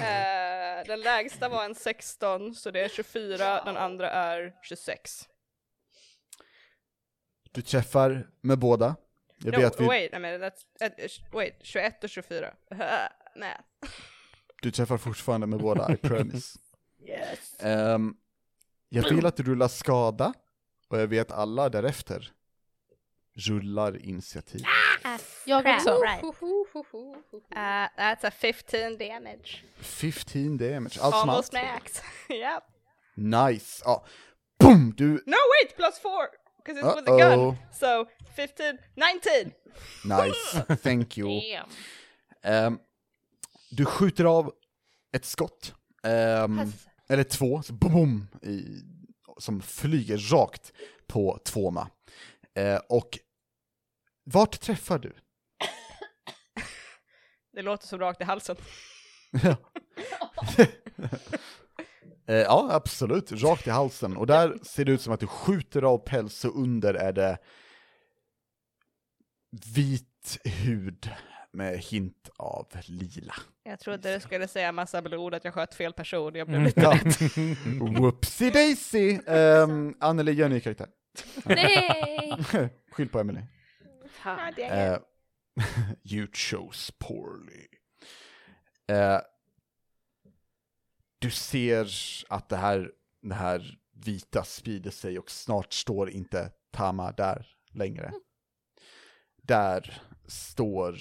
Eh, den lägsta var en 16, så det är 24, den andra är 26.
Du träffar med båda. Jag
No,
vet vi,
wait, I mean, that's, eh, wait, 21 och 24. Nej.
du träffar fortfarande med båda, I promise. yes. jag vill att du rullar skada, och jag vet alla därefter rullar initiativ.
Jag också.
Uh, that's a 15 damage.
15 damage, allt som allt.
Almost max. yep.
Nice! Ja. Boom! Du
No, wait, plus 4! Because it was a gun.
Uh-oh.
So, 15, 19!
Nice, thank you. Ehm, du skjuter av ett skott, ehm, eller två, så boom, boom, i, som flyger rakt på Tvåma. Eh, och vart träffar du?
Det låter som rakt i halsen.
Eh, ja, absolut, rakt i halsen. Och där ser det ut som att du skjuter av päls och under är det vit hud med hint av lila.
Jag trodde du skulle säga massa blod, att jag sköt fel person. Jag blev lite...
Ja. Whoopsie daisy! Um, Anneli, gör en ny karaktär.
Nej!
Skyll på Emily.
Fan.
Eh, you chose poorly. Eh, du ser att det här, det här vita sprider sig och snart står inte Tama där längre. Där står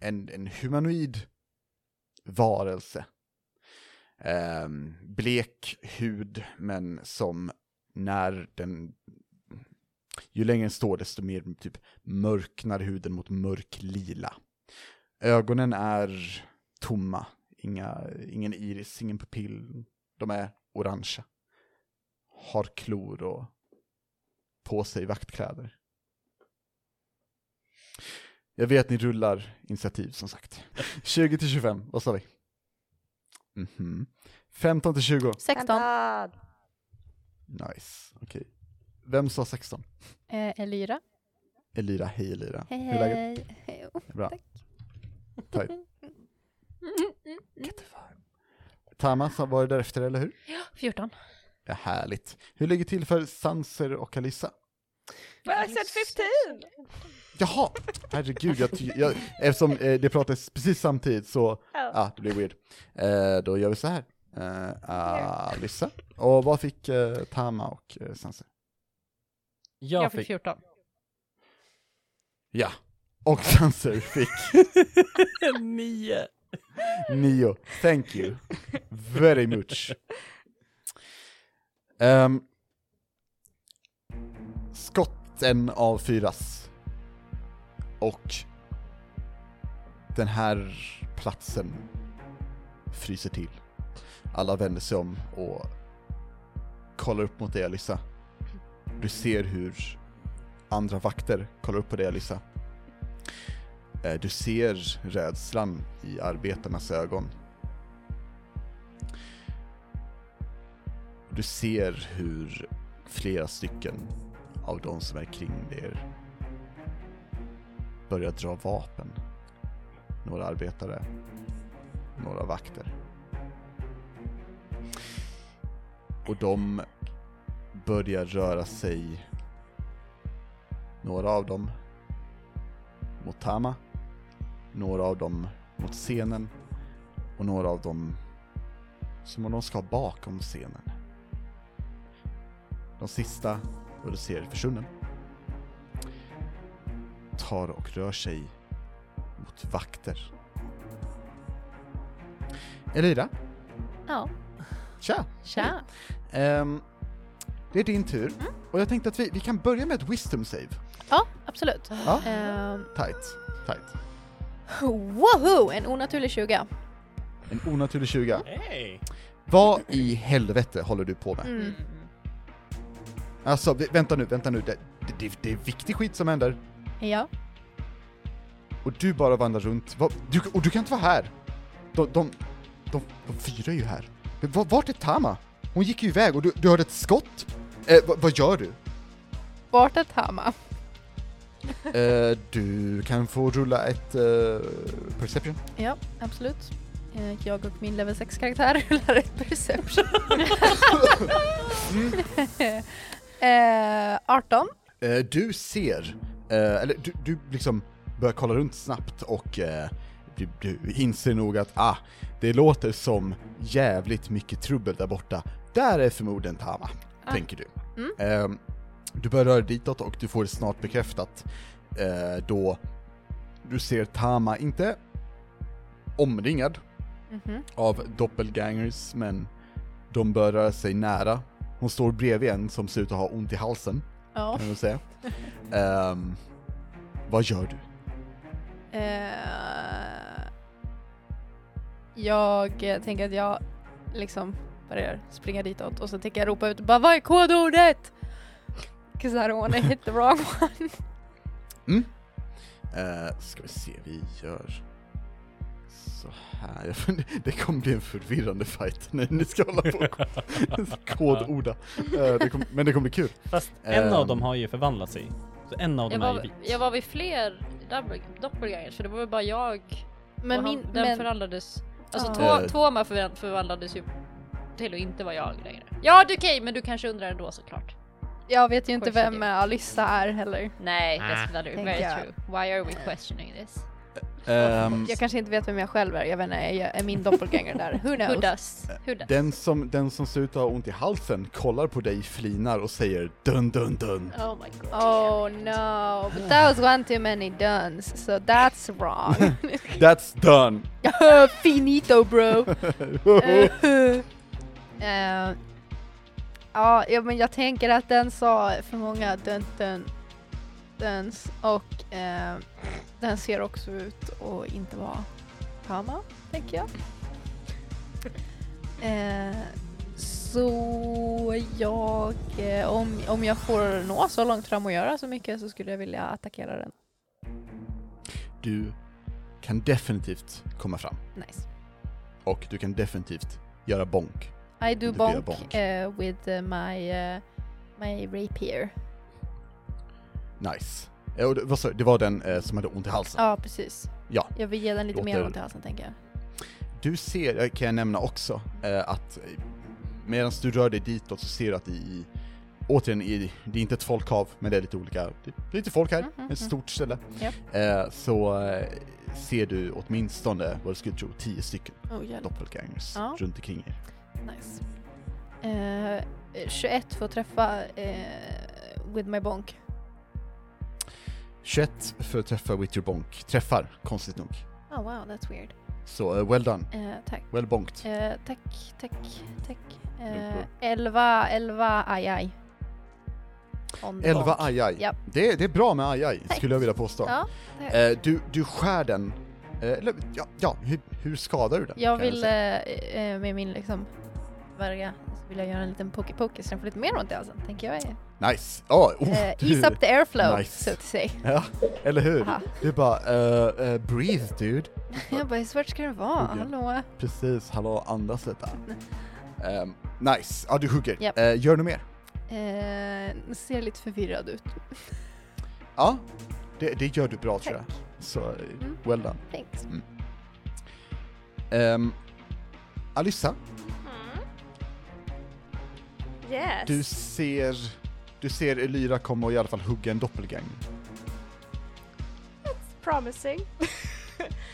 en, en humanoid varelse. Ehm, blek hud, men som när den ju längre den står desto mer typ mörknar huden mot mörklila. Ögonen är tomma, Inga, ingen iris, ingen pupill, de är orangea. har klor och på sig vaktkläder. Jag vet ni rullar initiativ som sagt. 20 till 25, vad sa vi? Mhm. 15 till 20,
16.
Väntad.
nice. Okej. Vem sa 16?
Eh, Elira.
Elira, hej Elira.
Hej
Hur är läget?
hej. Hej.
Bra.
Tack.
Tight. Tamas har varit där efter, eller hur?
14.
Ja, härligt. Hur ligger det till för Sanser och Alissa?
But I said 15!
Jaha! Herregud, jag, ty- jag, eftersom eh, det pratades precis samtidigt så, ja, ah, det blir weird. Eh, då gör vi så här. Eh, Alissa. Och vad fick eh, Tama och eh, Sanser?
Jag,
Jag fick
fick
14.
Ja. Och Sanser fick
nio.
Nio, thank you very much. Ehm, skotten av fyras. Och den här platsen fryser till. Alla vänder sig om och kollar upp mot dig Alissa. Du ser hur andra vakter kollar upp på dig Alissa. Eh, Du ser rädslan i arbetarnas ögon. Du ser hur flera stycken av de som är kring er börjar dra vapen. Några arbetare, några vakter. Och de börjar röra sig, några av dem mot Tama, några av dem mot scenen och några av dem som om de ska bakom scenen. De sista, och du ser försvunnen, tar och rör sig mot vakter. Elira,
Ja.
tja!
Tja.
Ehm, det är din tur
Mm.
och jag tänkte att vi, vi kan börja med ett wisdom save.
Ja, absolut.
Ja,
Eh,
tight, tight.
woho! En onaturlig 20.
En onaturlig 20.
Hej!
Vad i helvete håller du på med?
Mm.
Alltså, vä- vänta nu, vänta nu. Det, det, det är viktig skit som händer.
Ja.
Och du bara vandrar runt. Vad- Du, och du kan inte vara här! De, de, de, de fyra är ju här. Men va- Vart är Tama? Hon gick ju iväg och du, du hörde ett skott. Eh, vad, vad gör du?
Vart är Tama?
Eh, du kan få rulla ett eh, perception.
Ja, absolut. Eh, Jag och min level 6-karaktär rullar ett perception. eh, 18.
Eh, du ser, eh, eller du, du liksom börjar kolla runt snabbt och eh, du, du inser nog att ah, det låter som jävligt mycket trubbel där borta. Där är förmodligen Tama, tänker du. Eh, du börjar röra ditåt och du får det snart bekräftat eh, då du ser Tama, inte omringad
Mhm.
av doppelgangers, men de börjar röra sig nära. Hon står bredvid en som ser ut att ha ont i halsen
Ja.
kan man säga. Ehm, vad gör du?
Eh, jag eh, tänker att jag liksom börjar springa ditåt och så tänker jag ropa ut bara vad är kodordet? 'Cause I don't wanna hit the wrong one.
Uh, ska vi se, vi gör så här. Jag funder- Det kommer bli en förvirrande fight när ni ska hålla på och kodorda. Eh, det kom, men det kommer bli kul.
Fast en av
Ehm.
dem har ju förvandlat sig. Så en av
Jag
dem är ju
var,
vit.
jag var vid fler doppel- doppelgangers, för det var väl bara jag
Men
och
min,
han, den
men,
förvandlades... Alltså
Ja.
ja.
Eh.
Toma förvan- förvandlades ju till att inte vara jag längre. Ja, det är okej, men du kanske undrar ändå såklart.
jag vet ju inte
Fortsätt
vem
ju.
eh, Alyssa är heller.
Nej, that's very,
Tänker
very
jag.
true. Why are we questioning this?
Ehm,
Jag kanske inte vet vem jag själv är, jag vet inte, jag är min doppelganger där? Who knows?
Who does? Who does?
den, som, den som ser ut att ha ont i halsen kollar på dig, flinar och säger dun dun dun.
Oh my god.
Oh no, but that was one too many duns, so that's wrong.
That's done!
Finito bro! Eh, eh, ja, ja, men jag tänker att den sa för många dun, dun, duns och eh, den ser också ut att inte vara Tama, tänker jag. Eh, Så jag, eh, om, om jag får nå så långt fram och göra så mycket så skulle jag vilja attackera den.
Du kan definitivt komma fram.
Nice.
Och du kan definitivt göra bonk.
I do
gör
bonk,
bonk.
eh, with eh, my, eh, my rapier.
Nice. Eh, och det, vad sa du? det var den eh, som hade ont i halsen.
Ja, precis.
Ja.
Jag vill ge den lite mer
Låter-
ont i halsen tänker jag.
Du ser, eh, kan jag nämna också, eh, att medan du rör dig ditåt så ser du att i, i återigen, i, det är inte ett folkhav, men det är lite olika, det är lite folk här,
Mm, mm,
ett stort ställe.
Japp.
Eh, så eh, ser du åtminstone, vad du skulle tro, tio stycken
Oh, hjälp.
doppelgangers
Ja.
runt omkring er.
Nice. Eh, 21 får träffa eh, with my bonk.
21 för att träffa with your bonk, träffar konstigt nog.
Oh wow, that's weird.
Så eh, well done,
Eh, tack.
well bonkt.
Eh, tack, tack, tack. Eh,
Lugnt
11, 11, aj aj. On the
11
Eh, bonk.
aj aj.
Japp.
Det, är- det är bra med aj aj,
Tack.
skulle jag vilja påstå.
Ja, tack.
Eh, du, du skär den, eh, eller ja, ja hur, hur skadar du den?
jag
kan
vill
säga?
eh, eh, med min liksom värja så vill jag göra en liten poke poke så den får lite mer ont i halsen, tänker jag.
Nice! Ja, oh,
Eh,
du-
ease up the airflow,
Nice.
så att säga.
Ja, eller hur?
Aha.
Du bara, eh, eh, breathe dude.
Jag bara, hur svårt ska det vara?
Hugger.
Hallå?
Precis, hallå andas lite. Ehm, nice, ja du hugger.
Mm. Japp.
Eh, gör du mer?
Eh, ser lite förvirrad ut.
Ja, det, det gör du bra tror jag.
Tack.
Så, eh, well done. Mm.
Thanks.
Ehm, Alyssa,
Yes.
du ser, du ser Elyra komma och i alla fall hugga en doppelganger.
Promising.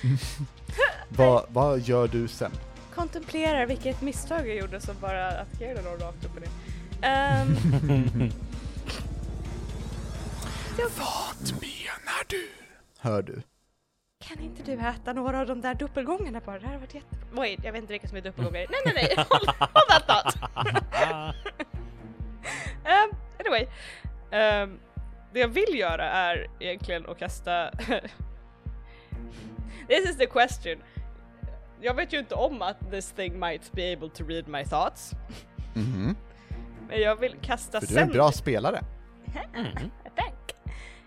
Vad, vad gör du sen?
Kontemplerar vilket misstag jag gjorde som bara attackerade någon rakt upp och ner. Ehm,
Vad menar du? Hör du.
kan inte du äta några av de där dubbelgångarna bara? Det här har varit jätte... Wait, jag vet inte vilka som är dubbelgångare. Nej, nej, nej! Håll, håll that thought! Ehm, anyway. Ehm, det jag vill göra är egentligen att kasta... This is the question. Jag vet ju inte om att this thing might be able to read my thoughts.
Mhm.
Men jag vill kasta
För du är en
send-
bra spelare.
Tack!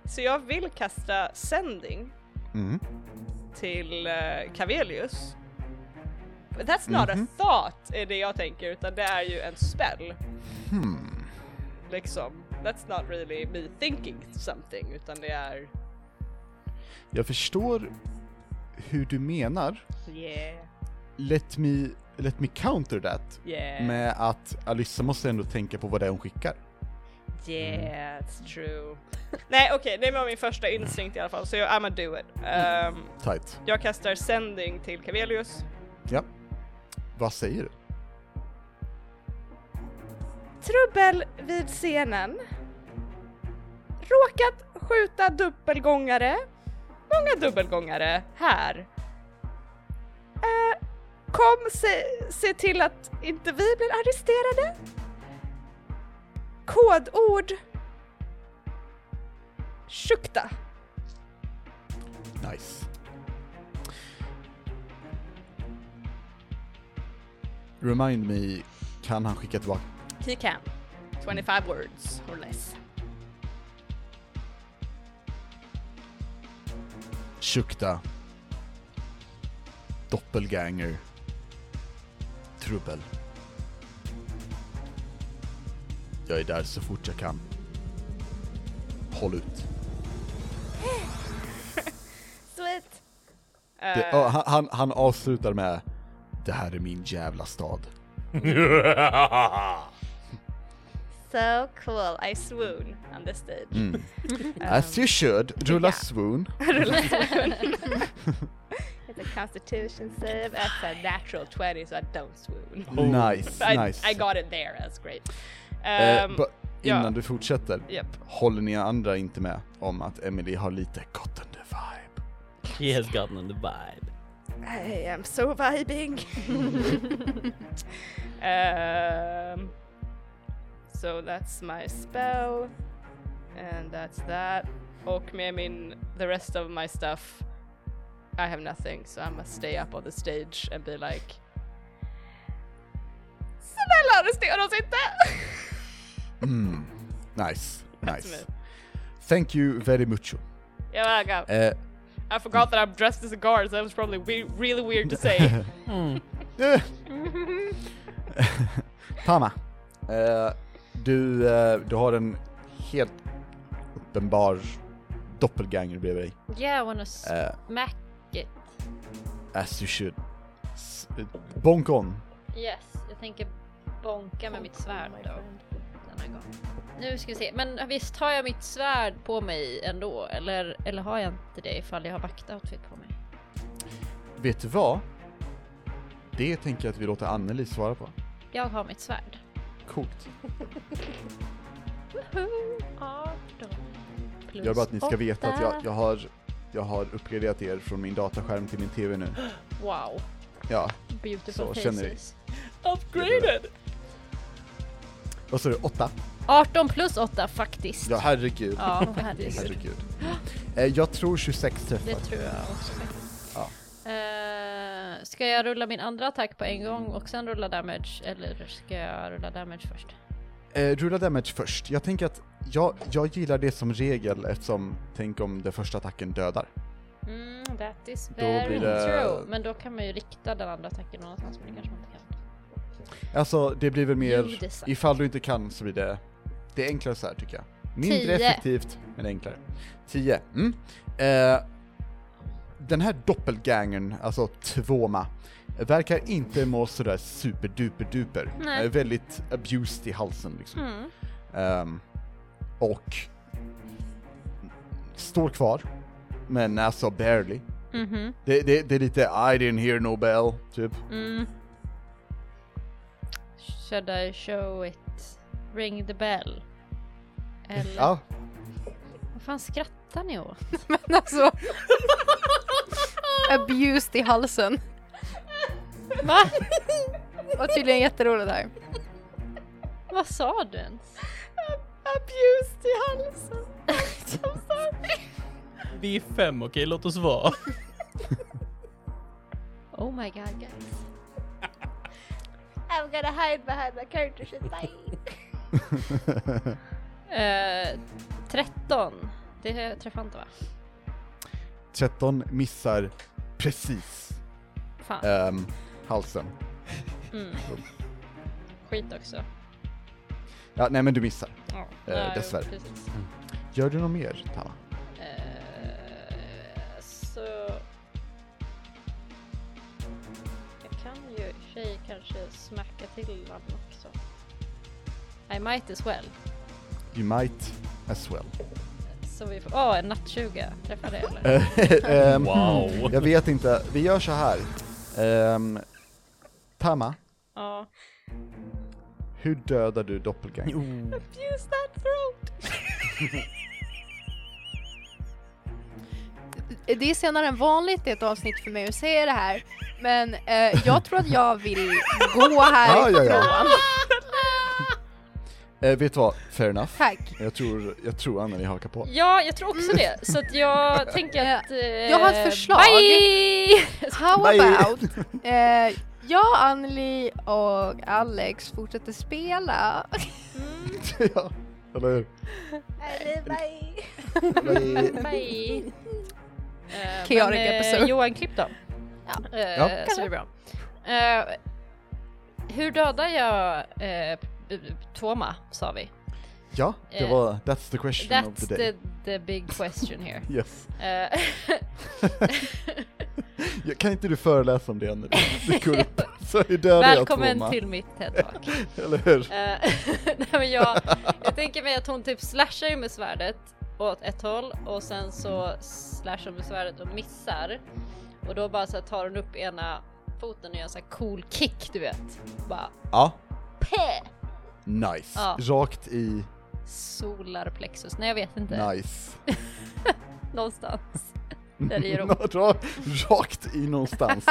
Så jag vill kasta sending
Mm.
till eh, Cavelius. But that's not a thought är det jag tänker utan det är ju en spell. Liksom, that's not really me thinking something utan det är...
Jag förstår hur du menar.
Yeah,
Let me, let me counter that
yeah,
med att Alyssa måste ändå tänka på vad det är hon skickar.
yeah, it's true. nej okej, det var min första instinkt i alla fall så jag, I'm gonna do it. Ehm,
Tight.
jag kastar sending till Cavelius.
Ja. Vad säger du?
Trubbel vid scenen. Råkat skjuta dubbelgångare. Många dubbelgångare här. Eh, kom se, se till att inte vi blir arresterade. Kodord. Shukta.
Nice. Remind me, kan han skicka tillbaka?
He can. 25 words or less.
Shukta. Doppelganger. Trubbel. Jag är där så fort jag kan. Håll ut.
Sweet. Eh.
Det, ja, han- han, han avslutar med Det här är min jävla stad.
So cool, I swoon on the stage.
Mm,
Um,
As you should. Rulla swoon.
It's a constitution save. That's a natural 20, so I don't swoon.
Nice,
I,
nice.
I got it there, that's great.
Eh,
Um,
ba-
ja.
innan du fortsätter,
Japp.
håller ni andra inte med om att Emily har lite gotten the vibe?
She has gotten the vibe.
I am so vibing. um, so that's my spell. And that's that. Och med min, the rest of my stuff, I have nothing, so I must stay up on the stage and be like Snälla arrestera oss inte!
Mm. Nice, nice. Thank you very much.
Jag vägrar.
Eh,
I forgot that I'm dressed as a guard, so that was probably we- really weird to say.
Eh. Tama, eh, du, eh, du har en helt uppenbar doppelganger bredvid dig.
Yeah, I wanna smack
Eh,
it.
as you should. S- eh, bonk on.
Yes, jag tänker bonka med mitt svärd då. Denna gång. Nu ska vi se, men visst har jag mitt svärd på mig ändå? Eller, eller har jag inte det ifall jag har vaktoutfit på mig?
Vet du vad? Det tänker jag att vi låter Anneli svara på.
Jag har mitt svärd.
Coolt.
Woho! 18. Plus
Jag vill bara att ni ska veta att jag,
åtta.
jag, har, jag har uppgraderat er från min dataskärm till min TV nu.
Wow,
Ja,
beautiful
Så känner vi.
faces.
Upgraded! vad sa du? Åtta?
18 plus 8 faktiskt.
Ja, herregud.
Ja, faktiskt.
Herregud. Eh, jag tror 26 träffar.
Det tror jag också faktiskt.
Ja.
Eh, ska jag rulla min andra attack på en gång och sen rulla damage? Eller ska jag rulla damage först?
Eh, rulla damage först. Jag tänker att jag, jag gillar det som regel eftersom, tänk om den första attacken dödar.
Mm, that is
Då very
very
blir det-
true.
true.
Men då kan man ju rikta den andra attacken någon annanstans, men det kanske man inte kan.
Alltså, det blir väl
Jo,
mer,
det är sant.
ifall du inte kan så blir det, det är enklare så här tycker jag. Mindre
Tio.
effektivt, men enklare. 10. Mm. Eh, den här doppelgangern, alltså Tvåma, verkar inte må sådär superduperduper.
Nej.
Är väldigt abused i halsen liksom.
Mm.
Ehm, och står kvar, men alltså barely.
Mm-hmm.
Mhm.
Det, det, det är lite I didn't hear no bell, typ.
Mm. Should I show it? Ring the bell? Eller?
Ja,
Vad fan skrattar ni åt?
Men alltså. Abused i halsen.
Va?
Det var tydligen jätteroligt där.
Vad sa du ens?
Abused i halsen. I'm sorry.
Vi är fem, okej? Låt oss vara.
Oh my god guys.
I'm gonna hide behind my character she's dying.
Eh, 13. Det träffar inte va?
13 missar precis
Fan,
ehm, halsen.
skit också.
Ja, nej men du missar.
Ja,
Eh,
jo,
dessvärre.
precis.
Gör du något mer, Tama?
Eh, så... Jag kan ju i och för sig kanske smacka till honom också. I might as well.
You might as well.
Så vi får... Åh, en nattsuga. Träffar det eller?
Ehm,
Wow.
Jag vet inte, vi gör så här. Ehm, Tama,
Ja.
hur dödar du doppelganger?
Abuse that throat.
Eh, Det är senare än vanligt, det är ett avsnitt för mig att säga det här. Men eh, jag tror att jag vill gå
Ja, ja,
härifrån.
ja. Eh, vet du vad, fair enough.
Tack.
Jag tror, jag tror Anneli hakar på.
ja, jag tror också det. Så att jag tänker att... Eh,
Jag har ett förslag.
Bye!
How
Bye.
about eh, jag, Anneli och Alex fortsätter spela.
ja, eller hur?
Bye.
Bye! Eh,
Chaotic
men, eh,
episode.
Johan, klipp dem. Ja.
Ja.
Så det är bra. Eh, hur dödar jag eh, b- b- Toma, sa vi?
Ja, det
Eh,
var, that's the question of
That's
the day.
the, the big question here.
Yes.
Eh,
Ja, Kan inte du föreläsa om det Anneli? Det är kul. Så hur dödar jag
välkommen
tvåma?
till mitt TED-talk.
Eller hur?
Eh, nej men jag, jag tänker mig att hon typ slashar ju med svärdet åt ett håll och sen så slashar hon med svärdet och missar. Och då bara så här tar hon upp ena foten och gör en sån här cool kick du vet. Bara
Ja,
pä!
nice.
Ja.
Rakt i
Solar plexus, nej jag vet inte.
nice.
Någonstans. Där det gör ont.
Ra- Rakt i någonstans.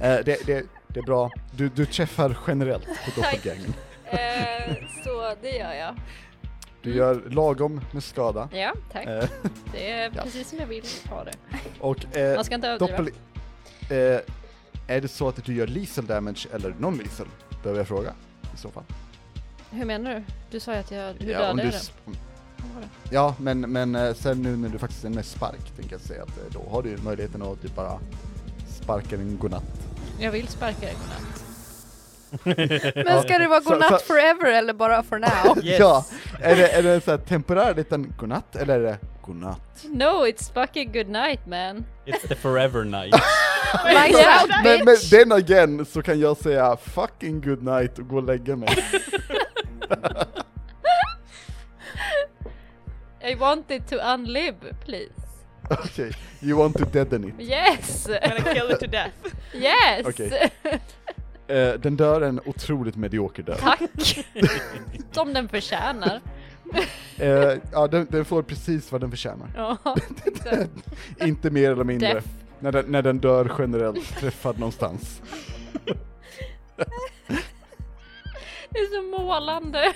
eh, det, det, det är bra. Du, du träffar generellt på doppelgäng.
Eh, så det gör jag. Mm.
Du gör lagom med skada.
Ja, tack.
Eh,
Det är
ja.
precis som jag vill ha det.
och eh,
Man ska inte överdriva.
doppel... Eh, är det så att du gör lethal damage eller non-lethal? Behöver jag fråga. I så fall.
Hur menar du? Du sa ju att jag, du
Ja, om
dödade
du,
den.
s- ja men, men eh, sen nu när du faktiskt är mest spark, tänker jag säga att eh, då har du ju möjligheten att typ bara sparka den godnatt.
Jag vill sparka dig godnatt.
Men ska det vara
Så-
godnatt
så-
forever eller bara for now?
Yes.
Ja, är det, är det en sån här temporär liten godnatt eller är det godnatt?
No, it's fucking good night man.
It's the forever night.
Lights
Ja,
out
Men, men
bitch!
den again så kan jag säga fucking good night och gå och lägga mig.
I want it to unlive, please.
Okej, you want to deaden it.
Yes!
Gonna kill it to death.
Yes!
Okej. Eh, den dör en otroligt medioker död.
Tack! Som den förtjänar.
Eh, ja, den, den får precis vad den förtjänar.
Ja,
Inte mer eller mindre.
Death.
När den, när den dör generellt träffad någonstans.
det är så målande.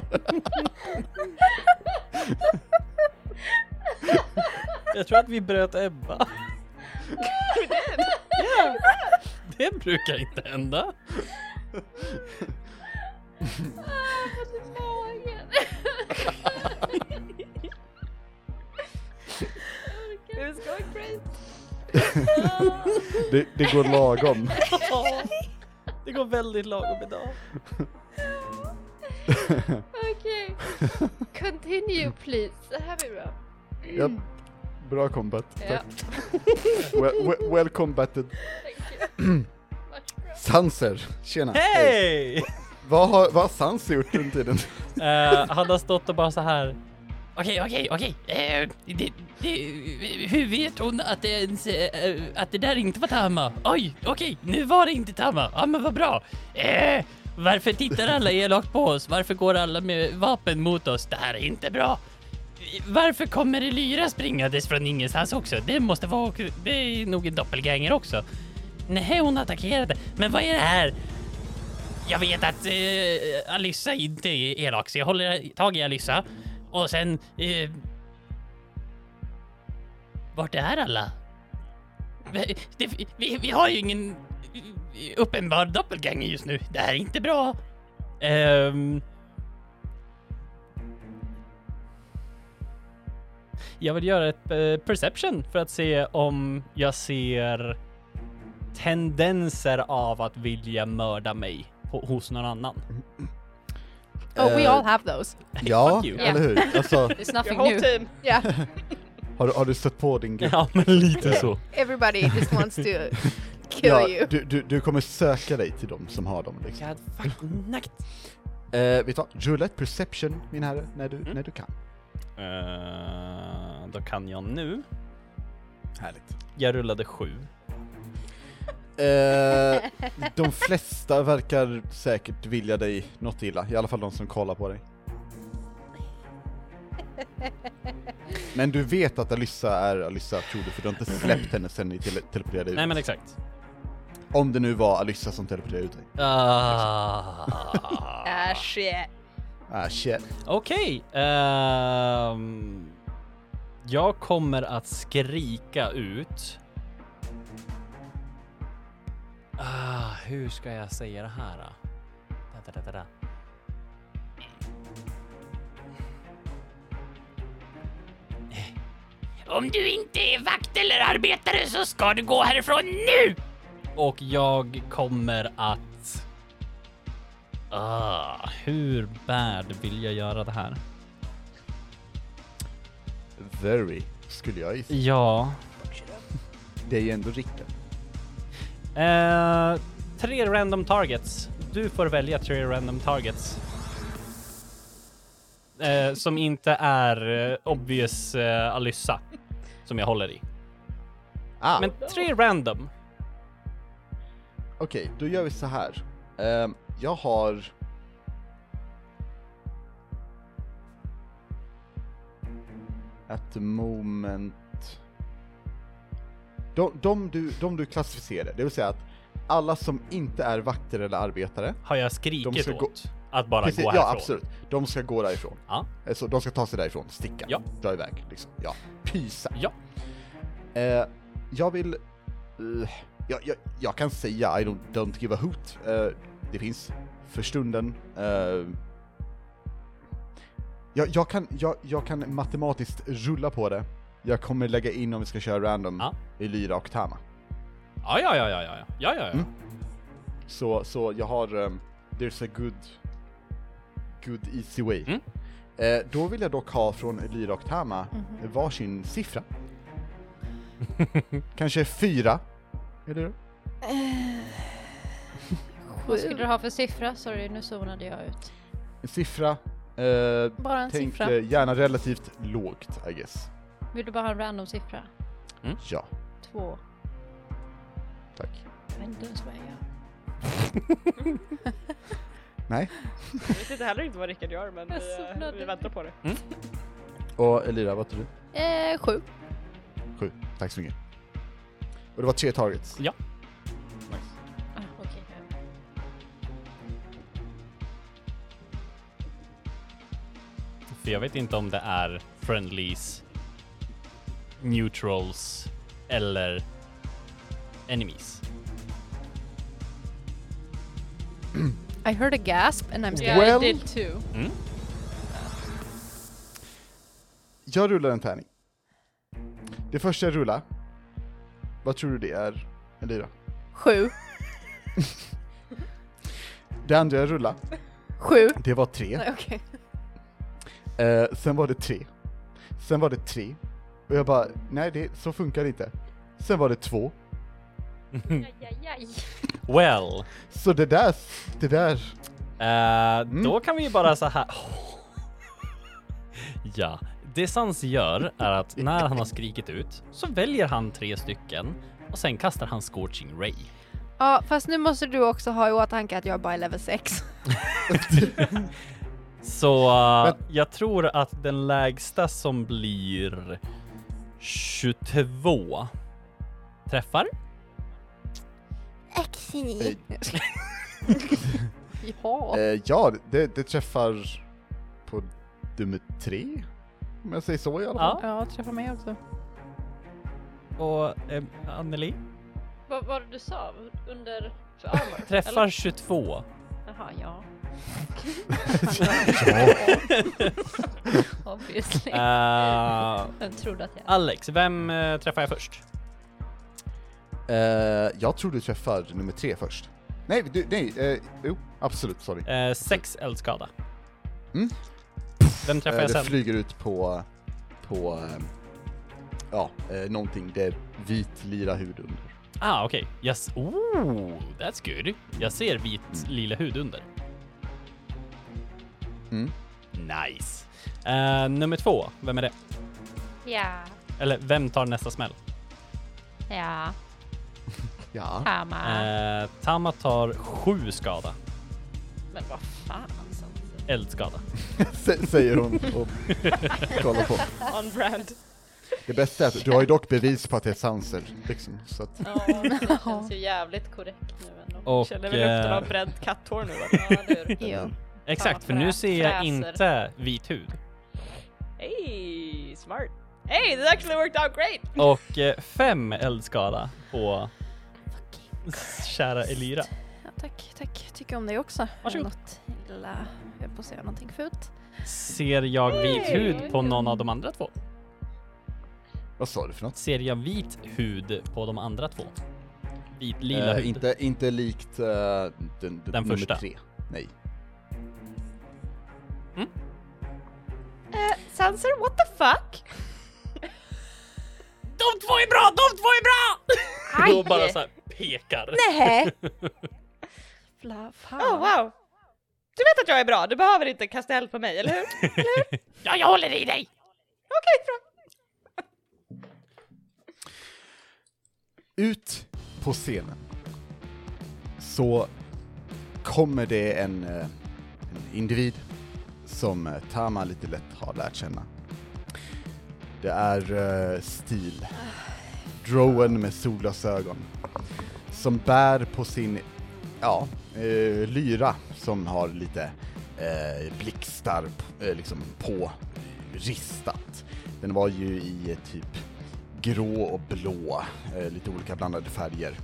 Jag tror att vi bröt Ebba. Ja. Det brukar inte hända.
Ah, jag får ont i magen. Jag orkar inte.
Det, det går lagom.
Det går väldigt lagom idag.
Okej. Continue please. Det här blir bra.
Japp.
Mm.
Bra combat,
Ja.
tack. Well, well, well combated.
Vart bra.
Sanser, tjena.
Hej!
Vad har, vad har Sans gjort under tiden?
Eh, han har stått och bara så här.
Okej, okej, okej. Eh, det- det- Hur vet hon att det, ens, eh, att det där inte var Tama? Oj, okej, nu var det inte Tama. Ja, men vad bra. Eh, varför tittar alla elakt på oss? Varför går alla med vapen mot oss? Det här är inte bra. Varför kommer Elyra springandes från ingenstans också? Det måste vara... Det är nog en doppelganger också. Nej, hon attackerade. Men vad är det här? Jag vet att eh, Alyssa inte är elak, så jag håller tag i Alyssa. Och sen... Eh, vart är alla? Vi, det, vi, vi har ju ingen eh, uppenbar doppelganger just nu. Det här är inte bra.
Ehm. jag vill göra ett eh, perception för att se om jag ser tendenser av att vilja mörda mig på, hos någon annan.
Oh we
Eh,
all have those.
Ja,
Fuck you.
eller hur? Alltså,
It's nothing
Your whole
new.
team.
Yeah,
har, du- har du stött på din grupp?
Ja, men lite så.
everybody just wants to kill you.
du, du, du kommer söka dig till dem som har dem. Liksom.
God fucking night.
Eh, vet du vad? Rulla ett perception, min herre, när du,
Mm.
när du kan.
Eh, då kan jag nu.
Härligt.
Jag rullade sju.
Eh, de flesta verkar säkert vilja dig något illa, i alla fall de som kollar på dig. Men du vet att Alyssa är Alyssa, tror du, för du har inte släppt henne sen ni tele- teleporterade ut.
Nej men exakt.
Om det nu var Alyssa som teleporterade ut dig.
Ah.
Ah shit.
Ah shit.
Okej. ehm, jag kommer att skrika ut. Ah, hur ska jag säga det här? Då? Da, da, da, da, da.
Om du inte är vakt eller arbetare så ska du gå härifrån nu!
Och jag kommer att... Ah, hur bad vill jag göra det här?
Very, skulle jag gissa.
Ja,
Det är ju ändå Rickard.
Eh, tre random targets. Du får välja tre random targets. Eh, som inte är eh, obvious eh, Alyssa, som jag håller i.
Ah.
Men tre random.
Okej, då gör vi så här. Ehm, jag har... At the moment... De, de, du, de du klassificerar, det vill säga att alla som inte är vakter eller arbetare,
Har jag
De
skrikit
ska
åt
gå-
att bara
precis,
gå härifrån?
ja absolut, de ska gå därifrån.
Ja.
Alltså, de ska ta sig därifrån, sticka,
Ja.
dra iväg, liksom. Ja, pysa.
Ja.
Eh, jag vill... eh, jag, jag, jag kan säga I don't, don't give a hoot. Eh, det finns för stunden. Eh, jag, jag, kan, jag, jag kan matematiskt rulla på det. Jag kommer lägga in om vi ska köra random
Ja.
i Lyra och Tama.
Ja, ja, ja, ja, ja, ja, ja, ja.
Mm. Så, så jag har, ehm, there's a good, good easy way.
Mm.
Eh, då vill jag dock ha från Lyra och Tama
Mhm.
varsin siffra. Kanske fyra, eller hur?
Vad skulle du ha för siffra? Sorry, nu zonade jag ut.
En siffra, eh,
Bara en
tänk
siffra.
eh, gärna relativt lågt, I guess.
Vill du bara ha en random siffra?
Ja,
Två.
tack.
Jag vet inte ens vad jag gör.
Nej,
Jag vet inte heller inte vad Rickard gör men
Jag vi, eh, zonade vi ut. väntar
på det.
och Elira, vad tror du?
Eh, sju.
Sju, tack så mycket. Och det var tre targets.
Ja.
Nice.
Ah, okej.
Mm. För jag vet inte om det är friendlies, neutrals eller enemies.
I heard a gasp and I'm
Yeah,
scared.
Well-
I did too.
Jag rullar en tärning. Det första jag rullar, vad tror du det är, Elira?
Sju.
Det andra jag rullade,
Sju.
det var tre.
Nej, okej.
Eh, sen var det tre. Sen var det tre. Och jag bara, nej det, så funkar det inte. Sen var det två.
Well,
Så det där, det där.
eh, då kan vi ju bara så här. ja, det Sans gör är att när han har skrikit ut så väljer han tre stycken och sen kastar han Scorching Ray.
Ja, fast nu måste du också ha i åtanke att jag bara är level 6.
Så eh, jag tror att den lägsta som blir 22 träffar.
Eh,
Jaha.
eh, ja, det, det träffar på nummer tre. Om jag säger så i alla fall.
Ja,
Ja, träffa mig också.
och eh, Anneli
Vad var det du sa? Under... För armor?
träffar
eller?
22.
Jaha, ja.
Ja.
Obviously.
Eh,
Jag trodde att jag...
Alex, vem eh, träffar jag först?
Eh, jag tror du träffar nummer tre först. Nej, du, nej, eh, jo, absolut, sorry.
Eh, sex eldskada.
Mm.
Vem träffar
Eh,
jag
det
sen?
flyger ut på, på, eh, ja, eh, någonting där vit lila hud under.
Ah, okej. Yes. Oh, that's good. Jag ser vit lila hud under.
Mm.
Nice. Eh, nummer två, vem är det?
Ja.
Eller vem tar nästa smäll?
Ja.
Ja.
Ah.
Tama.
Eh, Tama tar sju skada.
Men vad fan alltså. Sansa.
Eldskada.
S- säger hon och kollar på.
On brand.
Det bästa är att du har ju dock bevis på att det är Sanser, liksom. Så att,
Ja, det känns ju jävligt korrekt nu ändå.
Och,
Känner väl lukten
eh,
av bränt katthår nu va?
Ja, du.
eh,
Jo.
exakt, för
Tama
nu
frä-
ser jag
fräser.
inte vit hud.
Hey, smart. Hey, this actually worked out great!
Och eh, fem eldskada på kära Elira.
Ja, tack, tack. Tycker om dig också.
Varsågod.
Något illa. Jag höll på att säga någonting fult.
Ser jag vit hud på någon av de andra två?
vad sa du för något?
Ser jag vit hud på de andra två? Vit lila
Eh,
hud.
inte, inte likt eh, den, den, nummer
första.
tre. Nej.
Eh, Sanser, what the fuck?
De två är bra! De två är bra!
Aj!
Då bara så här pekar.
Nej! Fla, fan.
Oh wow! Du vet att jag är bra, du behöver inte kasta eld på mig, eller hur? Okej,
Ja, jag håller i dig!
bra.
Ut på scenen så kommer det en, eh, en individ som eh, Tama lite lätt har lärt känna. Det är eh, Stil, drowen med solglasögon, som bär på sin, ja, eh, lyra som har lite eh, blixtar p- eh, liksom på eh, ristat. Den var ju i eh, typ grå och blå, eh, lite olika blandade färger.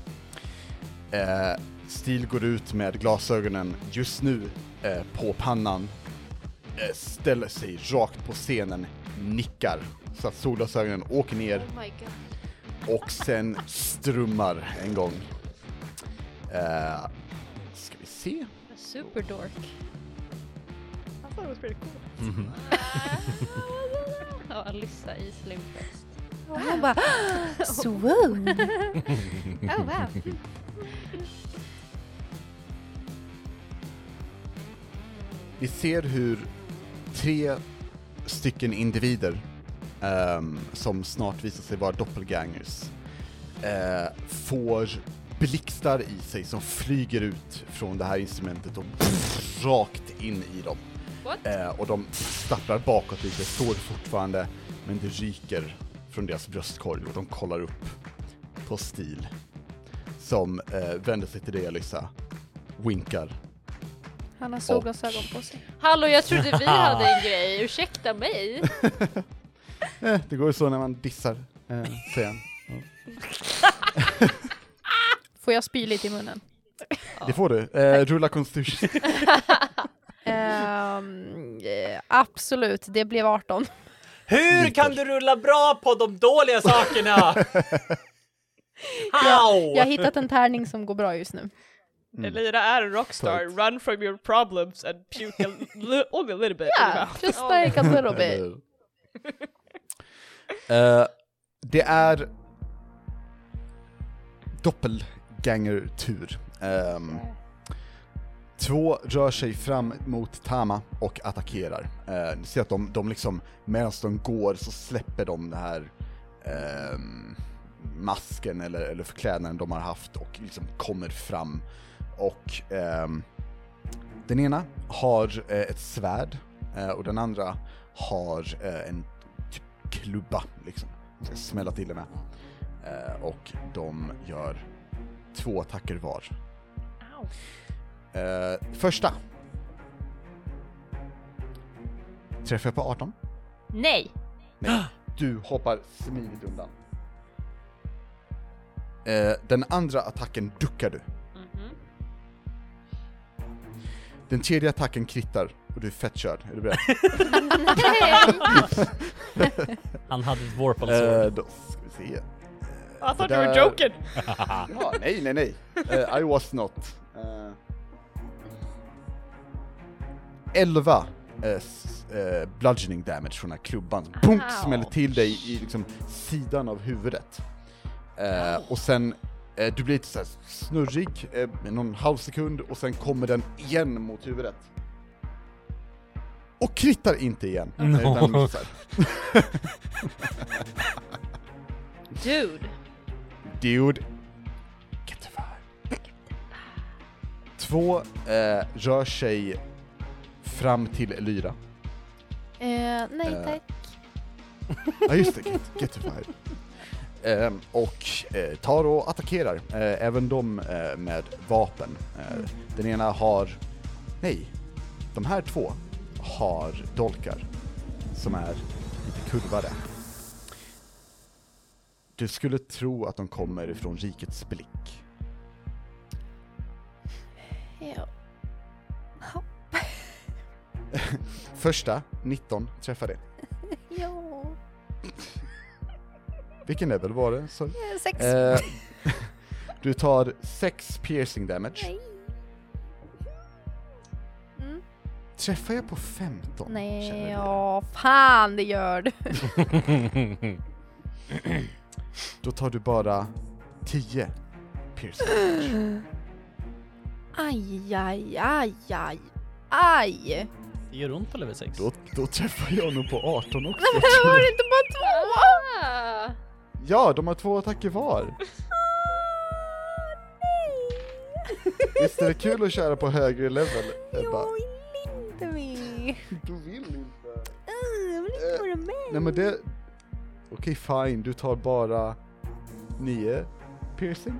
Eh, Stil går ut med glasögonen just nu eh, på pannan, eh, ställer sig rakt på scenen, nickar så att solglasögonen åker ner
Oh my god.
och sen strummar en gång. Eh, ska vi se?
Superdork.
I thought it was pretty cool.
Mhm.
Ja, Alissa i Slimfest.
Hon bara swoon.
Oh wow.
Vi ser hur tre stycken individer ehm, som snart visar sig vara doppelgangers eh, får blixtar i sig som flyger ut från det här instrumentet och rakt in i dem.
What?
Eh, och de stapplar bakåt lite, står fortfarande, men det ryker från deras bröstkorg och de kollar upp på Stil som eh, vänder sig till dig Alyssa, winkar
Han har solglasögon på sig.
Hallå, jag trodde vi hade en grej. Ursäkta mig.
Eh, det går ju så när man dissar, eh, säger han.
Får jag spy lite i munnen?
Det får du. Eh, rulla konstitution.
Ehm, eh, absolut, det blev 18.
Hur kan du rulla bra på de dåliga sakerna? How?
Jag har hittat en tärning som går bra just nu.
Elira är en rockstar,
Mm. Tight.
run from your problems and puke a li- only a little bit.
Yeah, just like a little bit.
Eh, det är doppelganger-tur. Ehm, två rör sig fram mot Tama och attackerar. Eh, ni ser att de, de liksom, medan de går så släpper de det här ehm, masken eller, eller förklädnaden de har haft och liksom kommer fram. Och ehm, den ena har eh, ett svärd eh, och den andra har eh, en typ klubba liksom. Ska smälla till det med. Eh, och de gör två attacker var. Eh, första. Träffar jag på 18?
Nej.
Du hoppar smidigt undan. Eh, den andra attacken duckar du. Den tredje attacken krittar och du är fett körd. Är du beredd?
Han hade ett warpal
Eh,
sword.
då ska vi se.
I thought
Det
you were
där-
joking!
Ja, nej, nej, nej. Eh, I was not. Eh, 11 eh, s- eh, bludgeoning damage från den här klubban. Bunk smäller till dig i liksom, sidan av huvudet. Eh, och sen, eh, du blir lite så här snurrig eh, med någon halv sekund och sen kommer den igen mot huvudet. Och krittar inte igen. eh, Utan missar.
Dude.
Dude. Get the vibe. Två eh, rör sig fram till Lyra.
Eh, nej
Eh,
tack.
Ja ah, just det, get, get the vibe. Ehm, och eh, tar och attackerar, eh, även de eh, med vapen. Eh, Den ena har, nej, de här två har dolkar som är lite kurvade. Du skulle tro att de kommer ifrån rikets blick.
Ja.
Första, 19, träffar det.
Ja.
Vilken level var det? Så,
Eh, Sex.
eh, du tar 6 piercing damage.
Mm.
Träffar jag på 15? känner
Nej,
du?
ja fan det gör du.
Då tar du bara 10 piercing damage.
Aj, aj, aj, aj. Aj!
Det gör ont på level 6.
Då, då träffar jag nog på 18 också.
Var det inte bara två?
Ah.
Ja, de har två attacker var. Visst är det kul att köra på högre level? Ebba?
Jag vill inte mer.
Du vill inte.
Uh, Jag vill inte
Eh,
vara med.
Nej men det... Okej fine, du tar bara 9 piercing.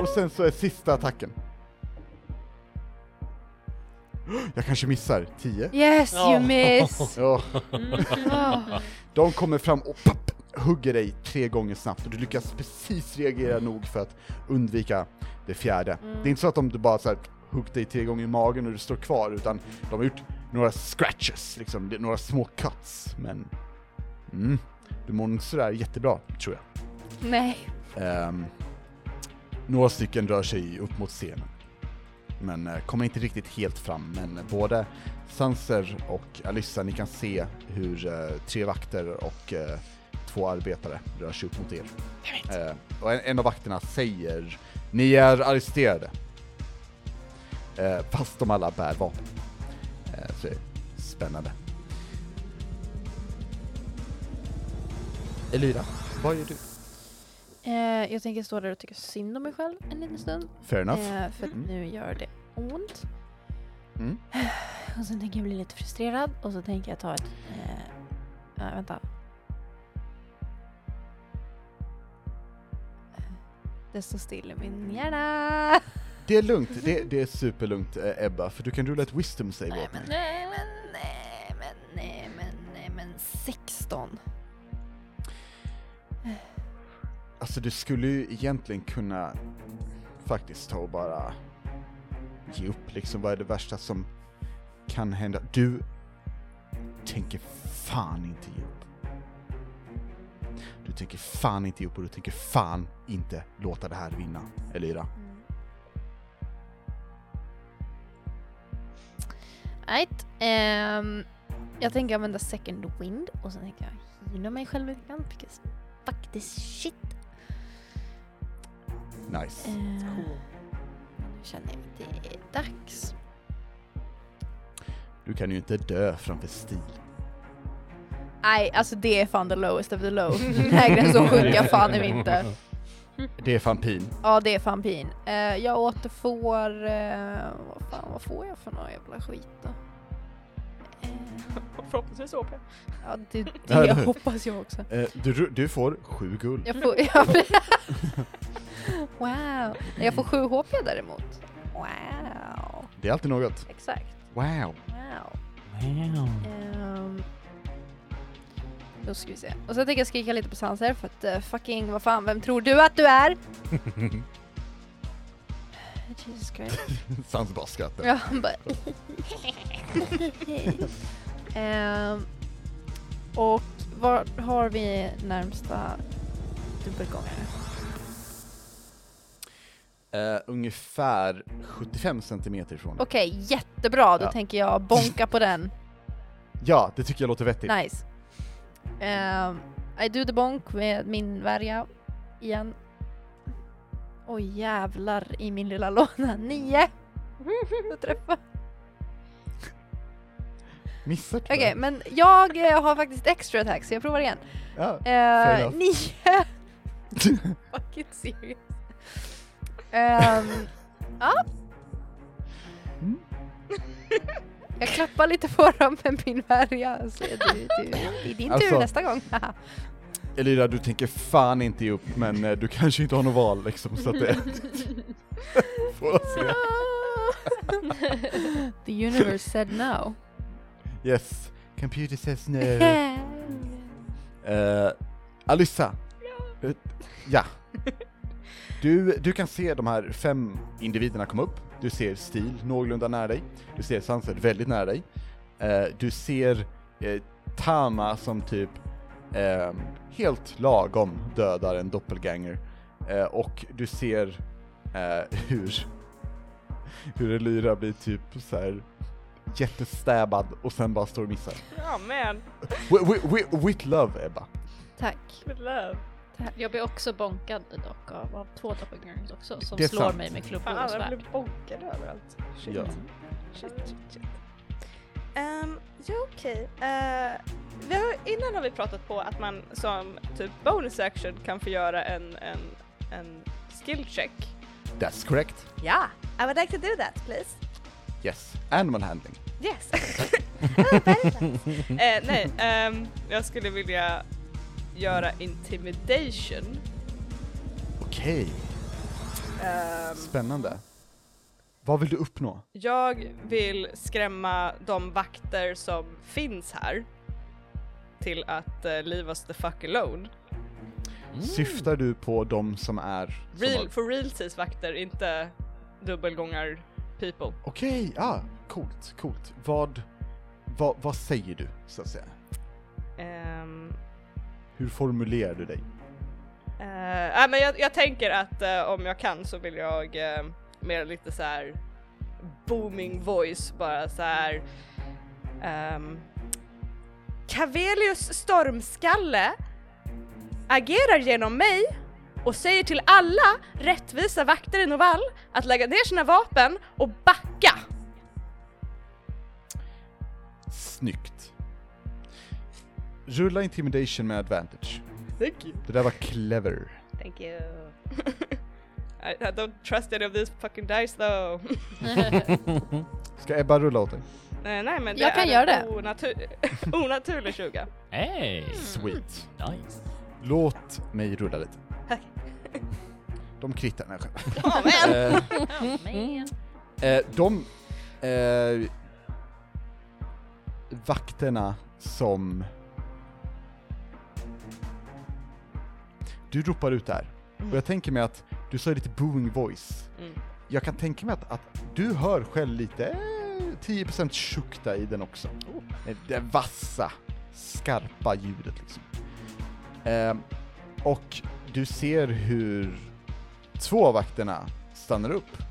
Och sen så är sista attacken. Jag kanske missar 10.
Yes you
Ja.
miss!
Ja,
Ah.
de kommer fram och papp, hugger dig tre gånger snabbt och du lyckas precis reagera nog för att undvika det fjärde. Det är inte så att de bara så här, hugg dig tre gånger i magen och du står kvar utan de har gjort några scratches, liksom, det är några små cuts. Men mm, du mår inte sådär jättebra tror jag.
Nej.
Ehm, några stycken rör sig upp mot scenen. Men eh, kommer inte riktigt helt fram. Men både Sanser och Alyssa, ni kan se hur eh, tre vakter och eh, två arbetare rör sig upp mot er. Eh, och en, en av vakterna säger Ni är arresterade. Eh, fast de alla bär vapen. Eh, så det är spännande. Elira, vad gör du?
Eh, jag tänker stå där och tycka synd om mig själv en liten stund.
Fair enough.
Eh, för att
Mm.
nu gör det ont.
Mm.
Och sen tänker jag bli lite frustrerad och så tänker jag ta ett... Eh, nej, vänta. Det står Eh, still i min hjärna.
Det är lugnt, det, det är superlugnt eh, Ebba, för du kan rulla ett wisdom save
Nej
åt
men
mig.
nej men nej men nej men nej men 16.
Alltså du skulle ju egentligen kunna faktiskt ta och bara ge upp liksom, vad är det värsta som kan hända? Du tänker fan inte ge upp. Du tänker fan inte ge upp och du tänker fan inte låta det här vinna, Elira.
Right. ehm, jag tänker använda second wind och sen tänker jag heala mig själv lite grann. Because fuck this shit.
Nice.
Ehm, nu känner jag att det är dags.
Du kan ju inte dö framför stil.
Nej, alltså det är fan the lowest of the low. Lägre än så sjunker fan är vi inte.
Det är fan pin.
Ja, det är fan pin. Eh, jag återfår... eh, vad fan, vad får jag för någon jävla skit då? Eh,
Förhoppningsvis OP.
ja, det,
Ja,
det
eller hur?
hoppas jag också.
Eh, Du, du får sju guld.
Jag får... Jag wow. Jag får 7 HP däremot. Wow.
Det är alltid något.
Exakt.
Wow.
Wow.
Wow.
Ehm, då ska vi se. Och så tänker jag skrika lite på Sanser för att eh, fucking vad fan, vem tror du att du är? Jesus Christ.
Sans bara skrattar.
Ja, han bara... Ehm, och var har vi närmsta dubbelgångare?
Eh, ungefär 75 centimeter ifrån dig.
Okej, jättebra. Då
Ja.
tänker jag bonka på den.
Ja, det tycker jag låter vettigt.
Nice. Ehm, I do the bonk med min värja igen. Oj jävlar i min lilla låda. Nio! Jag träffar.
Missar du?
Okej, men jag eh, har faktiskt extra attack så jag provar igen.
Ja.
Eh,
enough.
nio! Fucking serious. Ehm, ja.
Mm.
Jag klappar lite på dem med min värja. Så du, du, det är din
Alltså-
tur nästa gång.
Elira, du tänker fan inte ge upp, men eh, du kanske inte har något val liksom, så att det... Får se.
The universe said no.
Yes. Computer says no. Eh, Alyssa. Ja. ja. Du, du kan se de här fem individerna komma upp. Du ser Stil någorlunda nära dig. Du ser Sunset väldigt nära dig. Eh, du ser eh, Tama som typ ehm, helt lagom dödar en doppelganger. Eh, och du ser eh, hur, hur Elyra blir typ så här jättestäbbad och sen bara står och missar.
Ja men,
Wi- wi- wi- With love Ebba.
Tack.
good love.
Jag blir också bonkad dock av, av två doppelgangers också som
Det är
slår
sant.
mig med klubbor
Fan
och
alla
svärd.
blir bonkade överallt. Shit.
Ja.
Shit, shit, shit. Ehm, ja okej. Eh, vi har, innan har vi pratat på att man som typ bonus action kan få göra en, en, en skill check.
That's correct.
Ja, I would like to do that please.
Yes. Animal handling.
Yes! Oh, very nice. eh, nej, ehm, jag skulle vilja göra intimidation.
Okej,
Ehm,
spännande. Vad vill du uppnå?
jag vill skrämma de vakter som finns här till att eh, leave us the fuck alone.
Syftar du på de som är... som
Real,
har-
for realsies vakter, inte dubbelgångar people.
Okej, ja, coolt, coolt. Vad, vad, vad säger du, så att säga?
Ehm,
Hur formulerar du dig?
eh, nej, men jag, jag tänker att eh, om jag kan så vill jag eh, mer lite så här booming voice bara så här. ehm, Cavelius stormskalle agerar genom mig och säger till alla rättvisa vakter i Novall att lägga ner sina vapen och backa.
Snyggt. Rulla intimidation med advantage.
Thank you.
Det där var clever.
Thank you. I, I don't trust any of these fucking dice though.
Ska Ebba rulla åt dig?
Nej, Eh, nej men det
Jag kan
är
göra
en
det.
Onatur- onaturlig 20.
Hey!
Sweet.
Nice.
Låt mig rulla lite.
Tack.
De kritar när jag skämtar.
Åh men!
Eh,
Man.
Eh, de eh, vakterna som... Du ropar ut där. Och jag tänker mig att du sa lite booming voice.
Mm.
Jag kan tänka mig att, att du hör själv lite eh, 10% tjock där i den också. Eh, Det vassa, skarpa ljudet liksom. Ehm, och du ser hur två av vakterna stannar upp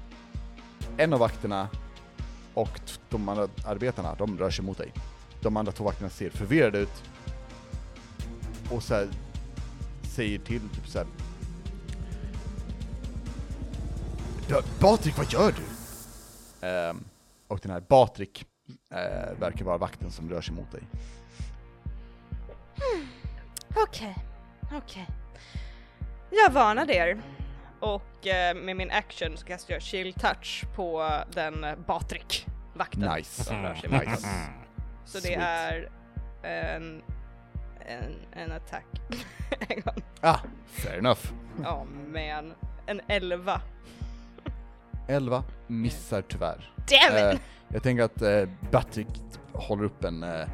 en av vakterna och t- de andra arbetarna, de rör sig mot dig. De andra två vakterna ser förvirrade ut och så här, säger till typ så här. "Ja, Patrik, vad gör du? Ehm, och den här Patrik eh, verkar vara vakten som rör sig mot dig.
Okej, okej. Jag varnade er och eh, med min action så kastar jag chill touch på den eh, Batrik, vakten
Nice.
som rör sig mot oss.
Nice.
Så det
Sweet.
är en, en, en attack. en gång.
Ah, fair enough.
Åh men, en 11.
11 missar tyvärr.
Damn it!
Eh, jag tänker att eh, Batrick håller upp en, eh,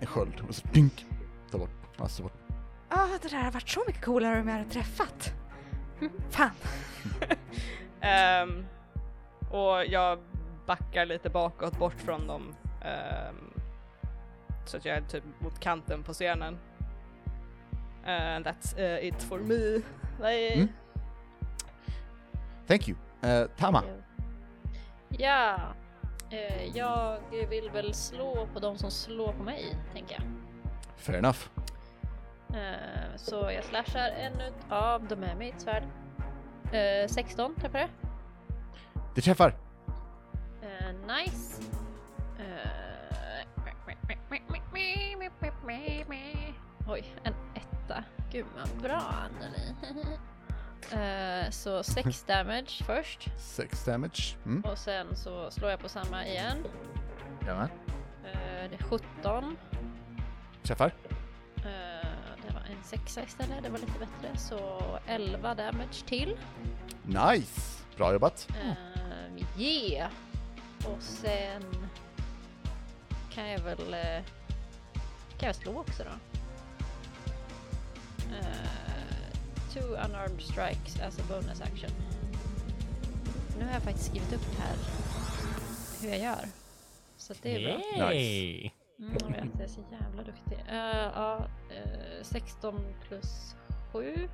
en sköld och så dynk, tar bort. Alltså, bort.
Ja, det där har varit så mycket coolare om jag hade träffat. Fan. Ehm, och jag backar lite bakåt bort från dem. ehm, så att jag är typ mot kanten på scenen. And that's eh, it for me. Nej.
Mm. Thank you. Eh, Tama,
Ja, eh, jag vill väl slå på de som slår på mig, tänker jag.
fair enough.
Eh, så jag slashar en ut av dem med mitt svärd. Eh, 16 träffar jag.
Det träffar.
Eh, nice. Eh, Oj, en etta. Gud vad bra Anneli. Eh, så 6 damage först
6 damage. Mm.
och sen så slår jag på samma igen. Eh, det är 17.
Träffar.
Eh, det var en sexa istället, det var lite bättre. Så 11 damage till.
Nice. Bra jobbat.
Uh, yeah! Och sen kan jag väl eh, kan jag slå också då. Eh, two unarmed strikes as a bonus action. Nu har jag faktiskt skrivit upp här hur jag gör. Så det är bra.
Nice.
Mm, jag vet, jag är så jävla duktig. Eh, ja, eh, 16 plus 7.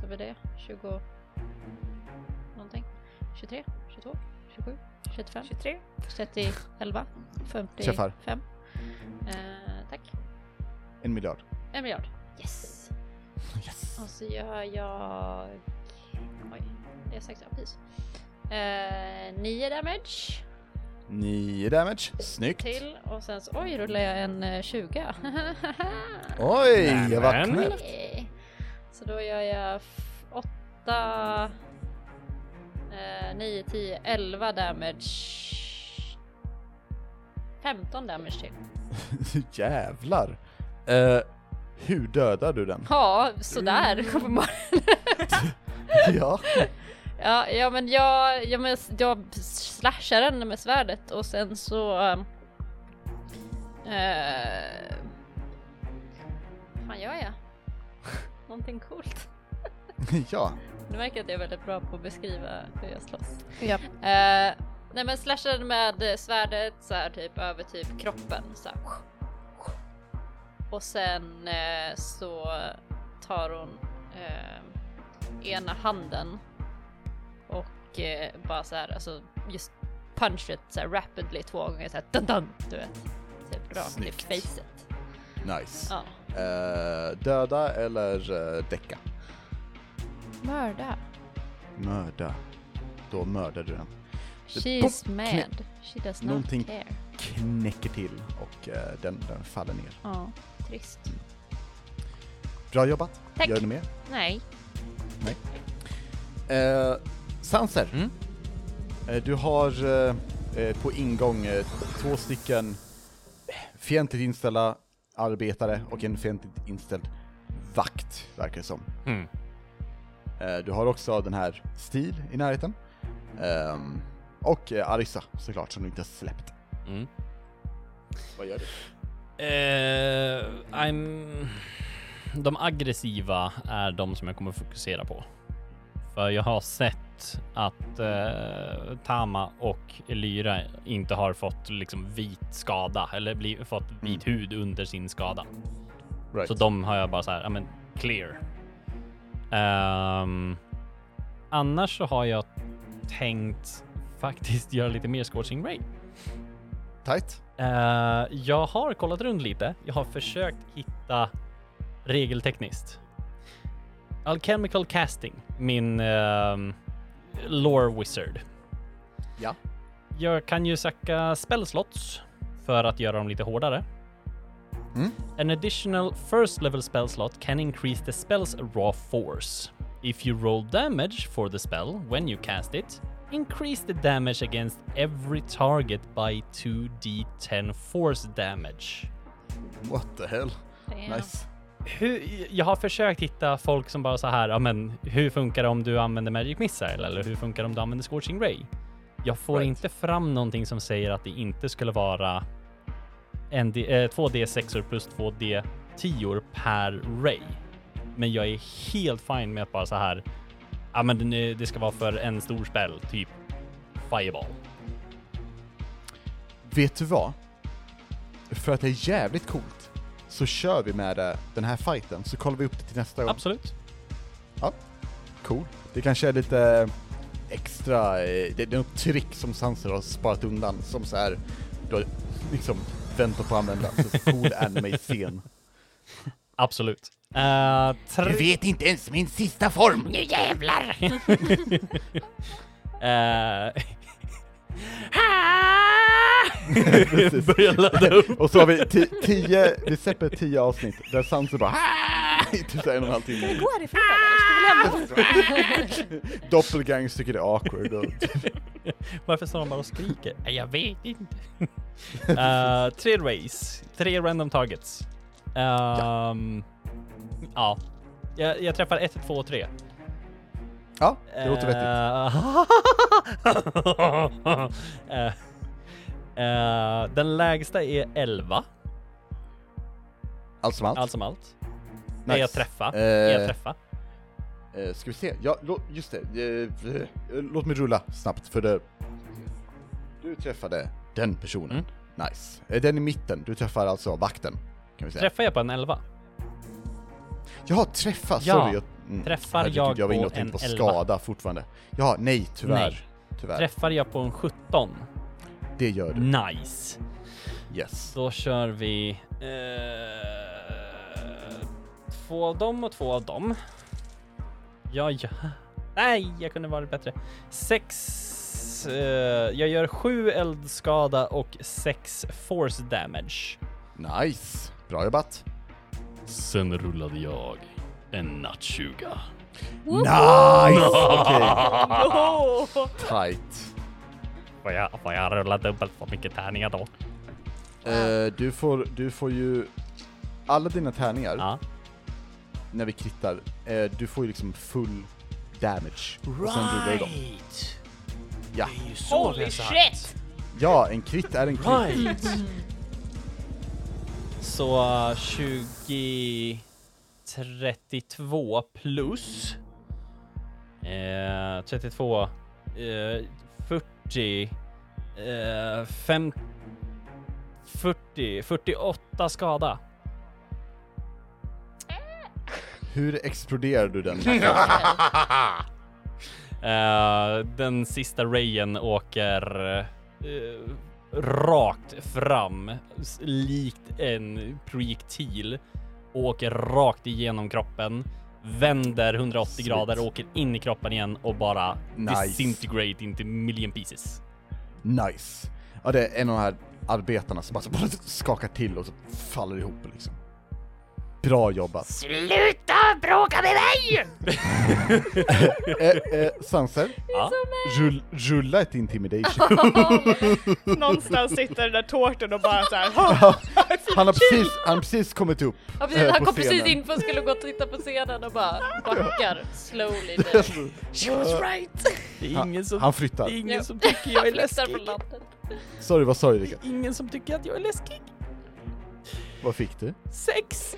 Så blir det 20... Någonting. 23, 22, 27, 35,
23.
30, 11, 55.
Träffar.
Eh, tack.
En miljard.
En miljard. Yes!
Yes.
Och så gör jag... Oj, det är 6 apis. Eh, 9 damage
9 damage. Snyggt.
till och sen så... Oj, rullar jag en eh, 20.
Oj, vad
Nämen.
knäppt.
Okej. Så då gör jag 8, 9, 10, 11 damage. 15 damage till.
Jävlar. Eh, hur dödar du den?
Ja, sådär uppenbarligen.
ja.
ja, ja, men jag, ja, men jag slashar den med svärdet och sen så... ehm, eh, Vad fan gör jag? någonting coolt.
ja,
Du märker att jag är väldigt bra på att beskriva hur jag slåss.
Japp.
Eh, nej men slashade med eh, svärdet så här typ över typ kroppen så här. Och sen eh, så tar hon eh, ena handen och eh, bara så här alltså just punch it så här rapidly två gånger så här dun dun du vet. Typ rakt
Snyggt.
i facet.
nice.
Ja.
Eh, döda eller uh, däcka?
Mörda.
Mörda. Då mördar du den.
She
Boom.
is mad. She does not
Någonting-
care.
Knäcker till och eh, den, den faller ner.
Ja, trist.
Bra jobbat.
Tack.
Gör du mer?
Nej.
Eh, Sanser.
Mm.
Eh, du har eh, eh, på ingång eh, två stycken fientligt inställda arbetare och en fientligt inställd vakt, verkar det som.
Mm.
Eh, du har också den här Stil i närheten. Ehm, och eh, Arissa såklart, som du inte har släppt.
Mm.
Vad gör du?
Eh, I'm... De aggressiva är de som jag kommer fokusera på. För jag har sett att eh, Tama och Lyra inte har fått liksom vit skada eller bli, fått vit hud under sin skada.
Right.
Så de har jag bara så här, ja men clear. Ehm, annars så har jag tänkt faktiskt göra lite mer scorching ray.
Tight.
Eh, jag har kollat runt lite. Jag har försökt hitta regeltekniskt. Alchemical casting, min ehm, lore wizard.
Ja.
Jag kan ju sacka spellslots för att göra dem lite hårdare.
Mm.
An additional first level spell slot can increase the spell's raw force. If you roll damage for the spell when you cast it, increase the damage against every target by 2d10 force damage.
What the hell?
Damn.
Nice.
Hur, jag har försökt hitta folk som bara så här, ja men hur funkar det om du använder Magic Missile eller hur funkar det om du använder Scorching Ray? Jag får
Right.
inte fram någonting som säger att det inte skulle vara en D, eh, 2D6 plus 2D10 per Ray. Men jag är helt fine med att bara så här, ja men det, det ska vara för en stor spell, typ Fireball.
Vet du vad? För att det är jävligt coolt så kör vi med det, den här fighten så kollar vi upp det till nästa gång.
Absolut.
Cool. Det kanske är lite eh, extra, eh, det är något trick som Sanser har sparat undan som så här, du har liksom väntat på att använda. Så cool anime-scen.
Absolut. Eh, tre...
vet inte ens min sista form!
Nu jävlar!
eh,
Precis.
börjar ladda upp.
Och så har vi ti- tio, vi släpper tio avsnitt där Sanser bara i typ så här en och en halv timme.
Gå härifrån eller? Ska vi lämna?
Doppelgangers tycker det är awkward och
Varför står de bara och skriker? Nej, Jag vet inte. Eh, tre race, tre random targets. Ehm, ja. Jag, jag träffar ett, två och tre.
Ja, det låter
Eh,
vettigt.
vettigt. Eh, den lägsta är 11,
Allt som allt.
allt som allt. Är jag träffa? Är jag
Eh,
träffa?
Eh, ska vi se, ja, lå- just det. Eh, eh, låt mig rulla snabbt för det. Du träffade den personen.
Mm.
Nice. Eh, den i mitten, du träffar alltså vakten. Kan vi säga.
Träffar jag på en 11?
Jaha, träffa,
Ja,
sorry. jag- mm,
träffar
herregud,
jag
jag var inne
på
och tänkte på
en
skada fortfarande. Ja, nej, tyvärr.
Nej. Mm.
Tyvärr,
Träffar jag på en 17?
det gör du.
Nice.
Yes.
Då kör vi eh, två av dem och två av dem. Ja, ja. Nej, jag kunde varit bättre. Sex. Eh, jag gör sju eldskada och sex force damage.
Nice. Bra jobbat.
Sen rullade jag en nattsuga.
Nice! Okej, tight.
Får jag, får jag rulla dubbelt för mycket tärningar då?
Eh, du, får, du får ju... Alla dina tärningar
Ja.
när vi krittar, eh, du får ju liksom full damage. Och sen rullar du dem. Ja.
Holy shit! Mm.
ja, en krit är en krit.
Right! Så eh, 23 32 plus. Eh, 32, eh, 40, eh, fem, 40, 48 skada.
Hur exploderar du den?
Eh, den sista rayen åker eh, rakt fram, s- likt en projektil. Åker rakt igenom kroppen, vänder 180
Sweet.
grader, åker in i kroppen igen och bara
Nice.
disintegrate into million pieces.
nice. Ja, det är en av de här arbetarna som bara, bara skakar till och så faller ihop liksom. Bra jobbat.
Sluta bråka med mig!
eh, eh, Sanser,
Ja.
rull, rulla ett intimidation.
Någonstans sitter den där tårtan och bara såhär
Han har precis, han har precis kommit upp.
Ja,
eh,
precis, han
på
kom precis
scenen.
in för att skulle gå och titta på scenen och bara backar slowly. ner.
She was right!
Det är
Han,
ingen som,
han flyttar.
det är
Ja.
ingen som tycker jag är
Flyttar
läskig.
på landet.
Sorry, vad sa du
Det
Rickard?
är ingen som tycker att jag är läskig.
Vad fick du?
Sex!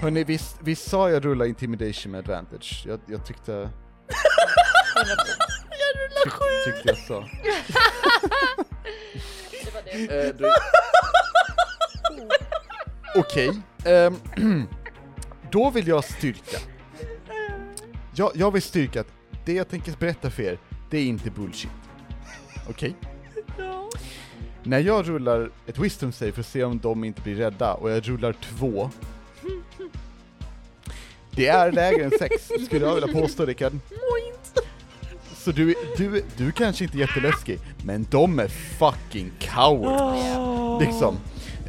Hörni, visst, visst sa jag rulla intimidation med advantage? Jag, jag tyckte... jag rullar sju! Tyckte jag sa.
Det var det.
Eh, du- Okej. ehm, då vill jag styrka. Jag, jag vill styrka att det jag tänker berätta för er, det är inte bullshit. Okej? När jag rullar ett wisdom save för att se om de inte blir rädda och jag rullar två. Det är lägre än sex, skulle jag vilja påstå Rickard. Så du, du, du kanske inte är jätteläskig, men de är fucking cowards. Liksom.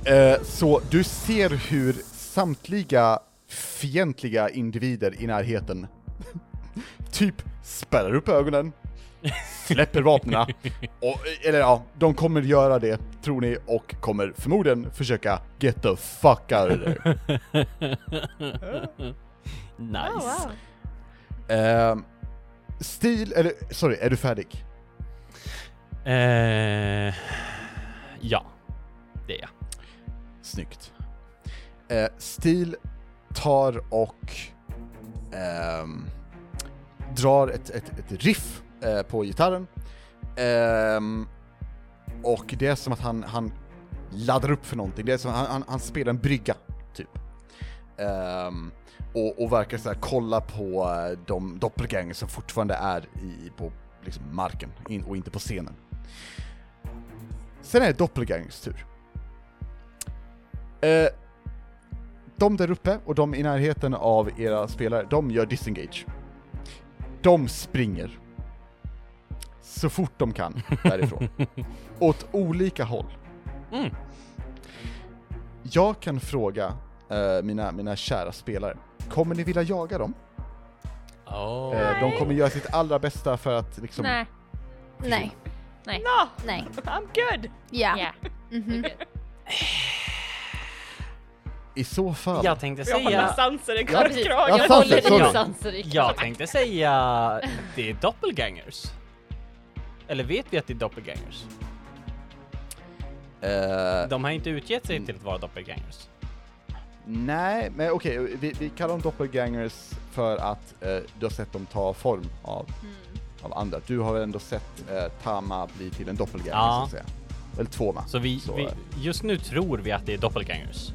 Eh, så du ser hur samtliga fientliga individer i närheten typ spärrar upp ögonen, släpper vapnen, och, eller ja, de kommer göra det, tror ni, och kommer förmodligen försöka get the fuck out of there.
Nice.
Ehm, stil, eller sorry, är du färdig?
Eh, ja, det är jag.
Snyggt. Eh, Stil tar och ehm, drar ett, ett, ett riff eh, på gitarren. Ehm, och det är som att han, han laddar upp för någonting. Det är som att han, han, han spelar en brygga, typ. Ehm, och, och verkar så här kolla på eh, de doppelgänger som fortfarande är i, på liksom marken in, och inte på scenen. Sen är det doppelgängers tur. Eh, de där uppe och de i närheten av era spelare, de gör disengage. De springer. Så fort de kan därifrån. Åt olika håll.
Mm.
Jag kan fråga eh, mina, mina kära spelare, kommer ni vilja jaga dem?
Oh.
Eh, de kommer göra sitt allra bästa för att liksom...
Nej,
Nej.
No!
Nej.
I'm good!
Ja.
ja.
Mhm.
I så fall...
Jag tänkte
Jag håller
säga...
sanser i
Ja,
precis.
Ja,
korvkragen.
Jag
sant,
håller
sorry.
i sanser
Jag tänkte säga... Det är doppelgangers. Eller vet vi att det är doppelgangers?
Eh,
De har inte utgett sig till att vara doppelgangers.
Nej, men okej, vi, vi kallar dem doppelgangers för att eh, du har sett dem ta form av, av andra. Du har ändå sett eh, Tama bli till en doppelganger,
Ja.
så att säga. Eller Toma.
Så, vi,
Så,
vi...
eh,
Just nu tror vi att det är doppelgangers.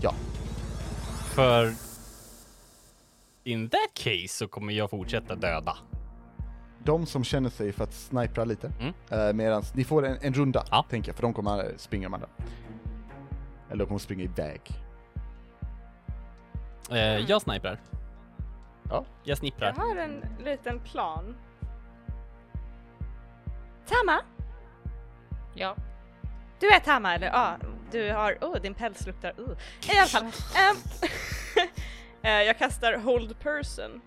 Ja.
För... In that case så kommer jag fortsätta döda.
De som känner sig för att snipra lite,
Mm.
eh, medan ni får en, en runda,
Ja.
tänker jag, för de kommer eh, springa de andra. Eller de kommer springa iväg.
Eh,
Mm.
jag sniprar.
Ja.
Jag
Jag
snipprar.
har en liten plan. Tama!
Ja.
Du är Tama eller? Ja, du har... Oh, din päls luktar... Oh. I alla fall. ehm, eh, jag kastar hold person.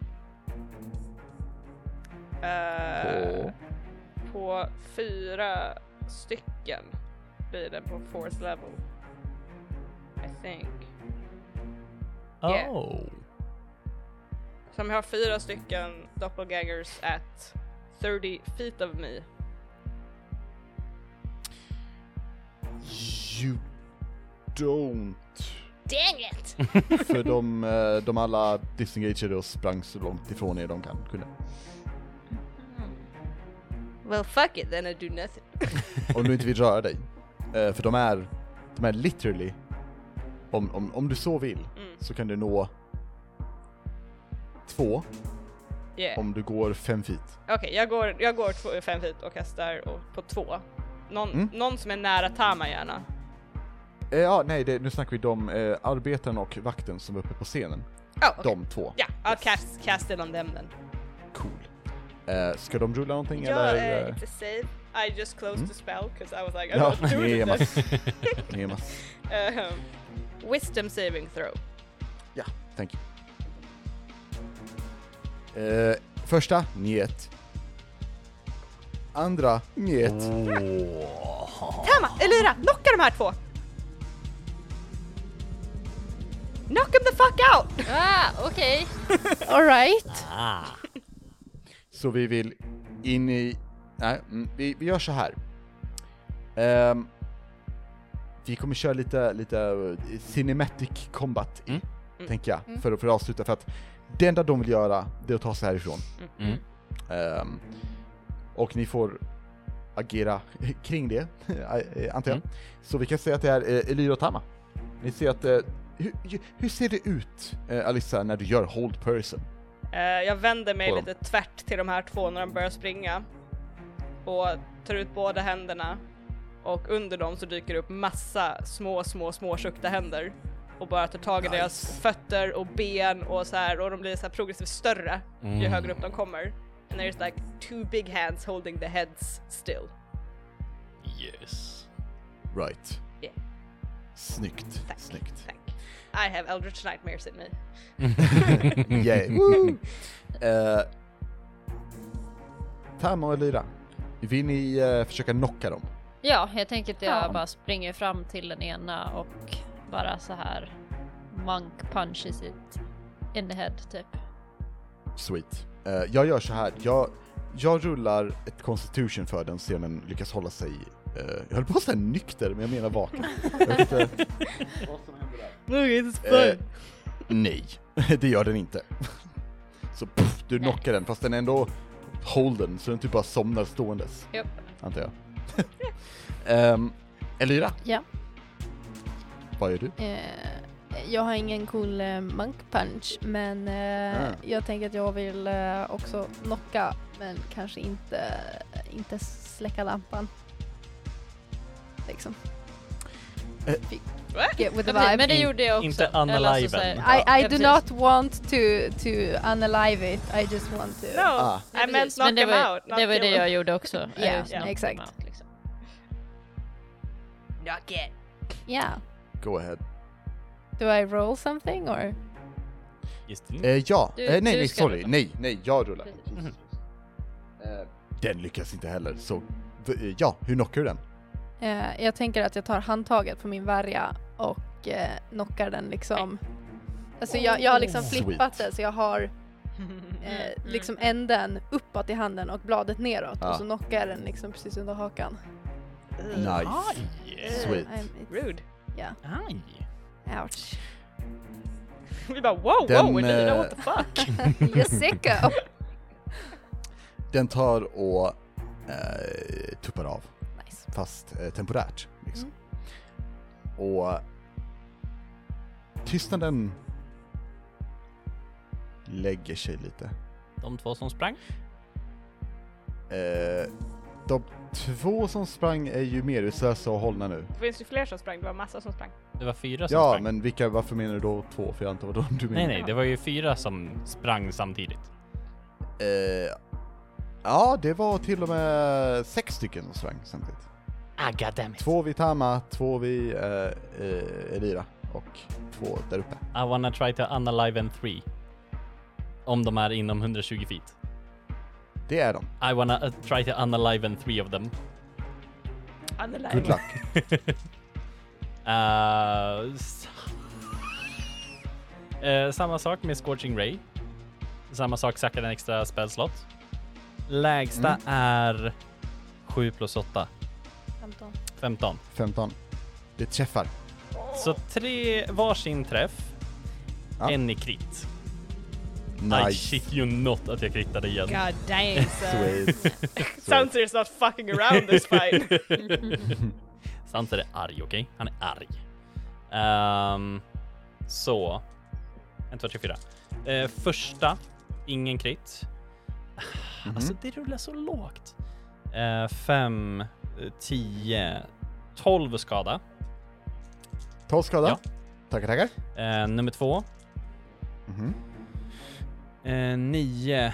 Eh, På fyra stycken blir den på fourth level. I think. Yeah.
Oh.
Som har fyra stycken doppelgangers at 30 feet of me.
You don't
dang it!
För de, eh, de alla disengagade och sprang så långt ifrån er de kan, kunde.
Well fuck it then I do nothing.
Om du inte vill röra dig. Eh, För de är, de är literally, om, om, om du så vill,
Mm.
så kan du nå två
Yeah.
om du går fem feet.
Okej, jag, går, jag går två, fem feet och kastar och, på två. Någon,
Mm.
någon som är nära Tama gärna.
Eh, Ja, nej, det, nu snackar vi de eh, arbetaren och vakten som var uppe på scenen.
Oh, okay.
De två.
Ja, I'll cast, cast it on them then.
Cool. Eh, ska de rulla någonting
Ja,
eller?
eh, it's a save. I just closed the spell because I was like, I
Ja,
don't do it.
nemas. nemas.
Ehm, wisdom saving throw.
Ja, thank you. Eh, första, njet. Andra, njet.
Tama! Elira! Knocka de här två! Knock them the fuck out!
Ah, okej.
Alright.
Så vi vill in i... Nej, mm, vi, vi gör så här. Ehm, vi kommer köra lite, lite cinematic combat, i, tänker jag, för, att- för att avsluta. För att det enda de vill göra, det är att ta sig härifrån.
Mm.
Ehm, och ni får agera kring det, eh, antar jag. Så vi kan säga att det är eh, Elira och Tama. Ni ser att... eh, hur, hur ser det ut, eh, Alissa, när du gör hold person?
Eh, jag vänder mig
På dem.
lite tvärt till de här två när de börjar springa. Och tar ut båda händerna. Och under dem så dyker det upp massa små, små, små tjukta händer. Och bara tar tag i deras fötter och ben och så här och de blir så här progressivt större
Mm.
ju högre upp de kommer. And there's like two big hands holding the heads still.
Yes.
Right.
Yeah.
Snyggt,
Tack.
snyggt.
Tack. I have eldritch nightmares in me.
Yay. Woo! Eh, Tam och Elira, vill ni eh, försöka knocka dem?
Ja, jag tänker att jag
Ja.
bara springer fram till den ena och bara så här monk punches it in the head typ.
Sweet. Eh, jag gör så här, jag, jag rullar ett constitution för den scenen lyckas hålla sig, eh, jag höll på att säga nykter, men jag menar vaken. Jag vet inte vad som händer där. Eh, nej, det gör den inte. Så puff, du knockar den, fast den är ändå holden, så den typ bara somnar ståendes.
Japp.
Antar jag. Ehm, Elira?
Ja.
Vad gör du?
Eh, jag har ingen cool eh, monk punch men eh,
Ah.
jag tänker att jag vill eh, också knocka men kanske inte, inte släcka lampan. Liksom.
Eh.
Get with the
Ja, precis,
vibe.
men det
In-
gjorde jag också.
inte
Eller alltså
unaliven.
så här-
I, I
Ja,
do
precis.
not want to, to unalive it, I just want to...
No,
Ah.
Nej,
I meant
precis,
knock
men det
them
var, ju-
out. not
Det var ju det
kill them.
jag gjorde också.
Ja,
Jag just
ja,
knocked
exakt.
them out, liksom.
Knock it.
Yeah.
Go ahead.
Do I roll something or?
Just det.
Eh, ja,
Du-
eh, nej,
du
nej,
ska
sorry,
rulla.
nej, nej, jag rullar. Mm-hmm.
Precis. Mm-hmm.
Eh, den lyckas inte heller, så v- eh, ja, hur knockar du den?
Eh, jag tänker att jag tar handtaget på min värja och eh, knockar den liksom. Alltså jag, jag har liksom
Oh.
flippat
Sweet.
det så jag har eh,
Mm,
liksom änden uppåt i handen och bladet neråt
Ah.
och så knockar jag den liksom precis under hakan. Eh,
Nice,
I'm-
sweet.
it's-
Rude.
Ah, Aj.
Ouch.
Vi bara wow,
Den,
wow, Elira,
eh,
what the fuck?
You're sicko!
Den tar och eh, tuppar av.
Nice.
fast eh, temporärt. Liksom.
Mm.
Och tystnaden lägger sig lite.
De två som sprang.
Eh, de två som sprang är ju medvetslösa och hållna nu.
Det finns ju fler som sprang, det var massa som sprang.
Det var fyra som
Ja,
sprang.
men vilka, varför menar du då två? För jag antar vad de du menar.
Nej, nej, det var ju fyra som sprang samtidigt.
Eh, ja, det var till och med sex stycken som sprang samtidigt.
Ah, goddammit.
Två vid Tama, två vid eh, eh, Elira och två där uppe.
I wanna try to unalive and three. Om de är inom 120 feet.
Det är de.
I wanna uh, try to unalive and three of them.
Good luck.
Uh, s- Eh, samma sak med Scorching Ray. Samma sak, sackade en extra spelslott. Lägsta
Mm.
är 7 plus 8, 15.
15. Det träffar.
Så tre varsin träff,
Ja.
en i krit. I
Nice.
shit you not att jag kritade igen.
God dang son.
Sweet.
Sounds is not fucking around this fight.
Sanser är arg, okej? Han är arg. Ehm, så. en, två, tre, fyra. Eh, första, ingen krit.
Mhm.
Alltså det rullar så lågt. Eh, fem, eh, tio, tolv skada.
12 skada.
Ja.
Tackar, tackar.
Eh, nummer två.
Mhm.
Eh, nio,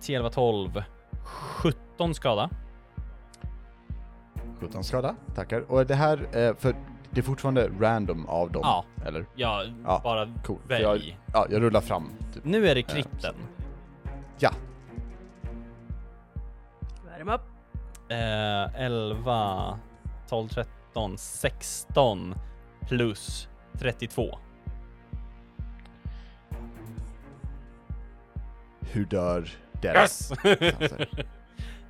tio, elva, tolv. Sjutton skada.
17 skada. Tackar. Och det här, eh, för det är fortfarande random av dem,
Ja.
eller?
Ja,
Ja,
bara
Cool. För
välj.
Jag, ja, jag rullar fram. Typ.
Nu är det kritten.
Ja.
Värm upp.
Eh, 11, 12, 13, 16 plus 32.
Hur dör deras? Sanser?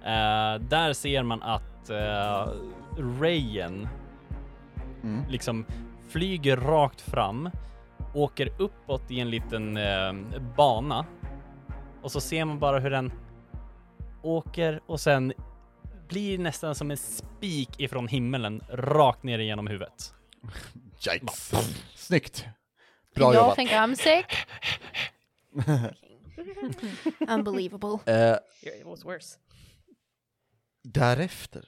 Eh, där ser man att eh, Rayen
Mm.
liksom flyger rakt fram, åker uppåt i en liten eh, bana och så ser man bara hur den åker och sen blir nästan som en spik ifrån himmelen rakt ner igenom huvudet.
Yikes. Snyggt. Bra
jag
jobbat.
think I'm sick. Unbelievable.
Eh,
It was worse.
därefter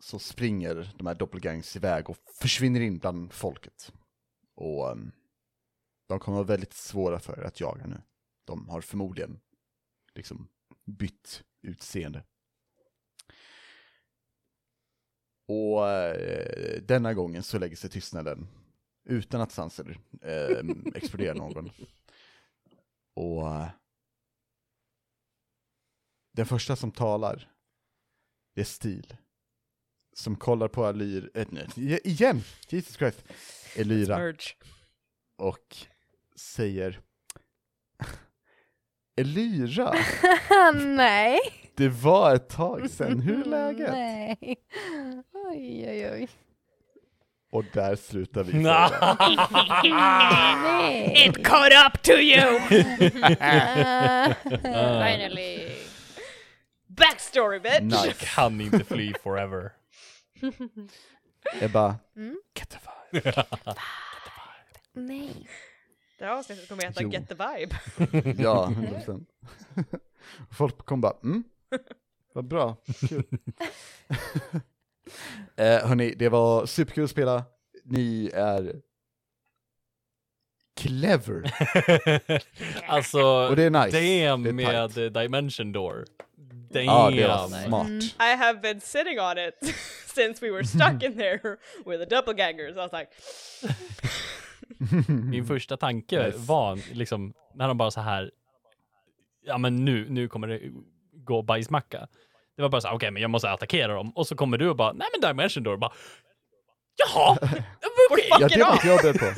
så springer de här doppelgangs iväg och försvinner in bland folket. Och ehm, de kommer vara väldigt svåra för er att jaga nu. De har förmodligen liksom bytt utseende. Och eh, denna gången så lägger sig tystnaden utan att Sanser eh, exploderar någon. Och eh, den första som talar, det är Stil. Som kollar på Alyr, eh, nej, i- igen, Jesus Christ, Elyra
Urge.
och säger Elyra,
Nej.
det var ett tag sedan, hur är läget?
Nej. Oj, oj, oj.
Och där slutar vi.
Nah.
frågan.
Nej.
Caught up to you!
Uh, Finally!
Backstory bitch!
Nice.
Kan inte fly forever.
Ebba,
Mm.
get the vibe.
Nej.
Det här avsnittet kommer heta
Jo.
Get the vibe.
Ja, 100%. Folk kom bara, mm, vad bra, kul. eh, hörni, det var superkul att spela. Ni är clever,
alltså,
och det är nice.
damn
det är
med
tight.
Dimension Door. Damn.
Ja, det var smart.
Mm.
I have been sitting on it since we were stuck in there with the doppelgangers. I was like,
Min första tanke
Nice.
var liksom, när de bara så här, ja men nu, nu kommer det gå bajsmacka. Det var bara så här, okej men jag måste attackera dem. Och så kommer du och bara, nej men Dimension Door, bara, jaha, okej.
Ja,
fucking
det var
off!
inte jag beredd på.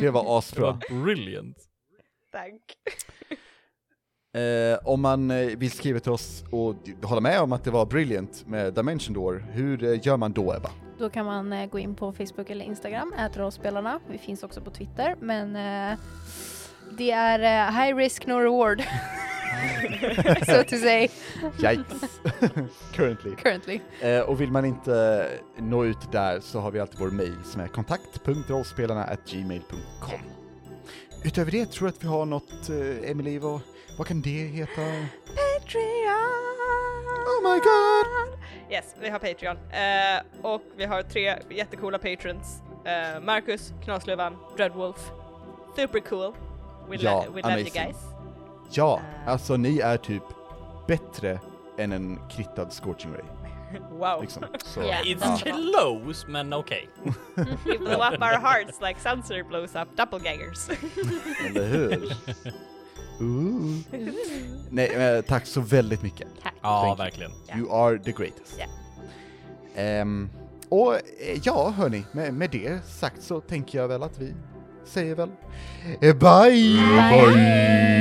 Det var
Det
asbra.
var brilliant.
Tack.
Eh, om man eh, vill skriva till oss och d- hålla med om att det var brilliant med Dimension Door, hur eh, gör man då Ebba?
Då kan man eh, gå in på Facebook eller Instagram, ät rollspelarna. Vi finns också på Twitter, men eh, det är eh, high risk no reward. so to say,
Yikes! Currently.
currently.
Eh, och vill man inte eh, nå ut där så har vi alltid vår mail som är kontakt.rollspelarna.gmail.com Utöver det tror jag att vi har något, eh, Emily, vad, vad kan det heta?
Patreon!
Oh my god!
Yes, vi har Patreon. Eh, och vi har tre jättecoola patrons. Eh, Marcus, Knaslövan, Dreadwolf. Super cool. We, lo-
Ja,
we love you
amazing.
guys.
Ja, alltså ni är typ bättre än en krittad Scorching Ray,
Wow.
liksom. Så,
Yeah.
ja.
It's close, men okej.
We blow up our hearts like Sanser blows up doppelgangers.
Eller hur? Ooh. Nej, eh, tack så väldigt mycket.
Ja,
Thank you.
verkligen.
You are the greatest. Ehm, och eh, ja, hörni, med, med det sagt så tänker jag väl att vi säger väl eh, bye! bye.